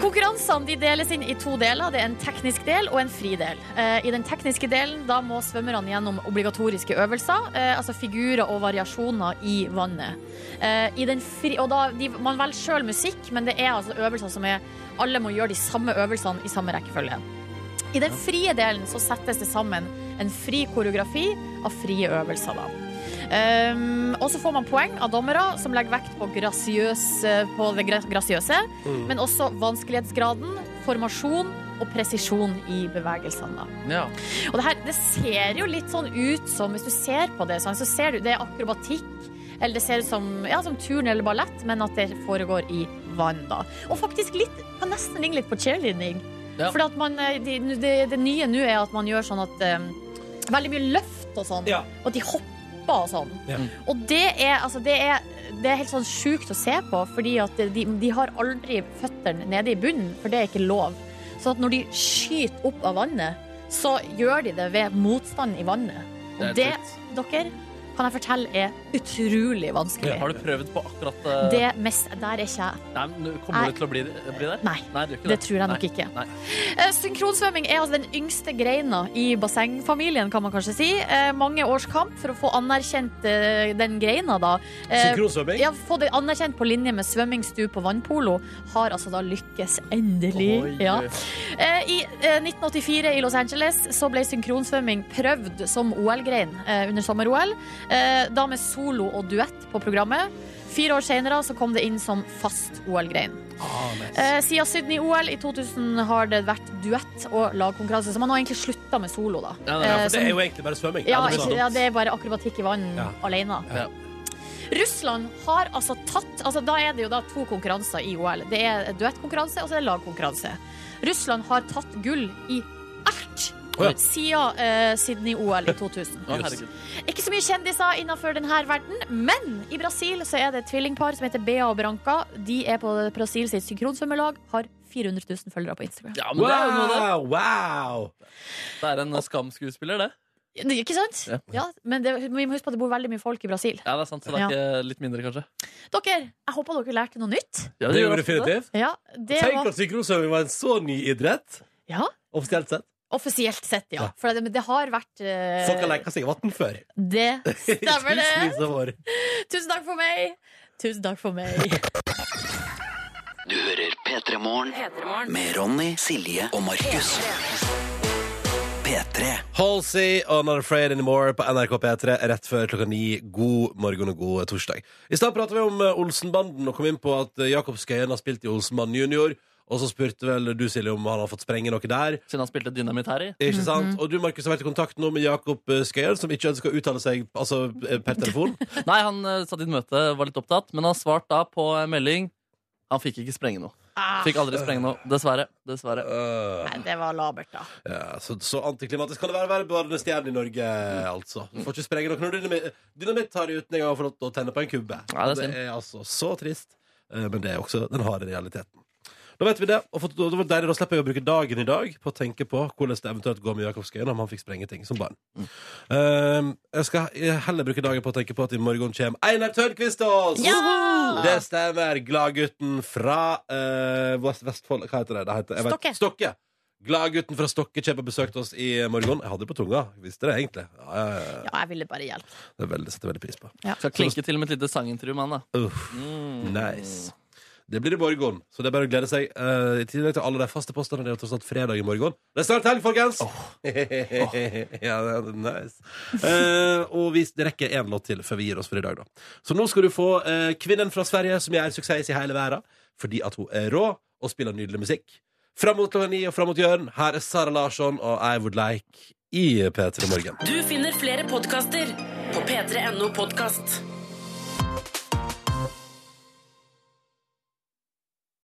S3: Konkurransene de deles inn i to deler. Det er en teknisk del og en fri del. Eh, I den tekniske delen da må svømmerne gjennom obligatoriske øvelser, eh, altså figurer og variasjoner i vannet. Eh, I den fri, og da, de, man velger sjøl musikk, men det er altså øvelser som er Alle må gjøre de samme øvelsene i samme rekkefølge. I den frie delen så settes det sammen en fri koreografi av frie øvelser. da. Um, og så får man poeng av dommere som legger vekt på, grasiøs, på det gra- grasiøse,
S4: Mm.
S3: men også vanskelighetsgraden, formasjon og presisjon i bevegelsene. da.
S4: Ja.
S3: Og det, her, det ser jo litt sånn ut som, hvis du ser på det, sånn, så ser du det er akrobatikk, eller det ser ut som, ja, som turn eller ballett, men at det foregår i vann, da. Og faktisk litt, kan nesten ligne litt på cheerleading.
S4: Ja.
S3: For det, det, det nye nå er at man gjør sånn at eh, Veldig mye løft og sånn, og at de hopper og sånn. Og det er, altså, det er, det er helt sånn sjukt å se på, fordi at de, de har aldri føttene nede i bunnen, for det er ikke lov. Så at når de skyter opp av vannet, så gjør de det ved motstand i vannet. Og
S4: Det
S3: det,
S4: er
S3: dere, kan jeg fortelle, er utrolig vanskelig.
S4: Har du prøvd på akkurat eh,
S3: Det mest, der er ikke jeg.
S4: Nei, men Kommer
S3: Nei.
S4: du til å bli, bli der?
S3: Nei,
S4: Nei, du gjør ikke
S3: det tror jeg nok
S4: Nei.
S3: ikke.
S4: Nei.
S3: Eh, Synkronsvømming er altså den yngste greina i bassengfamilien, kan man kanskje si. Eh, Mange års kamp for å få anerkjent eh, den greina, da. Eh,
S2: Synkronsvømming?
S3: Ja, få det anerkjent på linje med svømming, stup og vannpolo. Har altså da lykkes, endelig.
S11: Oi.
S3: Ja. Eh, I eh, 1984 i Los Angeles så ble synkronsvømming prøvd som OL-grein eh, under sommer-OL. eh, Da med solo og duett på programmet. Fire år senere så kom det inn som fast OL-grein.
S2: Ah,
S3: Eh, Siden Sydney-OL i 2000 har det vært duett og lagkonkurranse, så man har egentlig slutta med solo, da.
S2: Ja, nei,
S3: Eh,
S2: for det er
S3: som-
S2: jo egentlig bare svømming.
S3: ja,
S2: det er
S3: ikke,
S2: sant.
S3: ja, det er bare akrobatikk i vann
S2: Ja.
S3: alene.
S2: Ja.
S3: Russland har altså tatt altså Da er det jo da to konkurranser i OL. Det er duettkonkurranse og så er det lagkonkurranse. Russland har tatt gull i alt
S11: Å ja.
S3: siden eh, Sydney-OL i 2000.
S11: Å, herregud.
S3: Ikke så mye kjendiser innenfor denne verden, men i Brasil så er det et tvillingpar som heter Bea og Branca. De er på Brasil sitt synkronsvømmelag, har 400 000 følgere på Instagram.
S4: Ja, men det er jo noe, da.
S2: sånn, Wow!
S4: Det er en eh, skamskuespiller, det.
S3: Det- Ikke sant?
S4: Ja.
S3: Ja. men det, vi må huske på at det bor veldig mye folk i Brasil.
S4: Ja, det er sant, så det er
S3: Ja.
S4: ikke litt mindre, kanskje.
S3: Dere, jeg håper dere lærte noe nytt.
S2: Ja, det gjorde vi definitivt.
S3: Ja, det
S2: Tenk
S3: var
S2: at synkronsvømming var en så ny idrett.
S3: Ja.
S2: Offisielt sett.
S3: offisielt sett, ja. For det, men det har vært eh,
S2: Folk har leka seg i vann før.
S3: Det
S2: [LAUGHS]
S3: stemmer, det.
S2: Tusenvis av år.
S3: Tusen takk for meg. Tusen takk for
S2: [LAUGHS]
S3: meg.
S12: Du hører P3 Morgen med Ronny, Silje og Markus. P3.
S2: Halsey og Not Afraid Anymore på NRK P3 rett før klokka ni. God morgen og god torsdag. I stad pratet vi om eh, Olsenbanden og kom inn på at eh, Jakob Skøyen har spilt i Olsenbanden junior. Og så spurte vel du, Silje, om han har fått sprenge noe der.
S4: Siden han spilte dynamitt her i.
S2: Ikke sant? Og du, Markus, har vært i kontakt nå med Jakob eh, Skøyen, som ikke ønsker å uttale seg altså, eh, per telefon.
S4: Nei, han eh, satt i et møte, var litt opptatt, men han svarte da på en melding. Han fikk ikke sprenge noe. Fikk aldri sprenge noe. Dessverre. Dessverre.
S3: Nei, det var labert, da.
S2: Ja, så, så antiklimatisk kan det være å være bevarende stjerne i Norge, altså. Du får ikke sprenge noe når dynamitt, dynamitt tar uten engang å få lov til å tenne på en kubbe.
S4: Ja, det er
S2: det er altså så trist, eh, men det er også den harde realiteten. Da vet vi det, og for, da, da- da slipper jeg å bruke dagen i dag på å tenke på hvordan det eventuelt går med Jakob Skøyen om han fikk sprenge ting som barn.
S4: Mm.
S2: Um, jeg skal heller bruke dagen på å tenke på at i morgen kommer Einar Tørnquist til oss!
S11: Ja!
S2: Det stemmer. Gladgutten fra eh, Vest Vestfold Hva heter det? det heter, jeg vet-
S11: Stokke.
S2: Stokke. Gladgutten fra Stokke kommer og besøker oss i morgen. Jeg hadde det på tunga. Visste det egentlig. Ja, ja, ja.
S3: Ja, jeg ville bare hjelpe.
S2: Det er veldig, setter veldig pris på.
S4: Skal klinke til med et lite sangintervju med han, da.
S2: Uff, nice. Det blir i morgen, så det er bare å glede seg. Eh, I tillegg til alle de faste postene. Det er jo tross alt fredag i morgen. Det er snart helg, folkens! [LAUGHS] ja, det er nice. Eh, og vi det rekker én låt til før vi gir oss for i dag, da. Så nå skal du få eh, kvinnen fra Sverige som gjør suksess i hele verden fordi at hun er rå og spiller nydelig musikk. Fram mot klokka ni og fram mot Jørn, her er Sara Larsson og I Would Like i P3 Morgen.
S1: Du finner flere podkaster på p3.no podkast.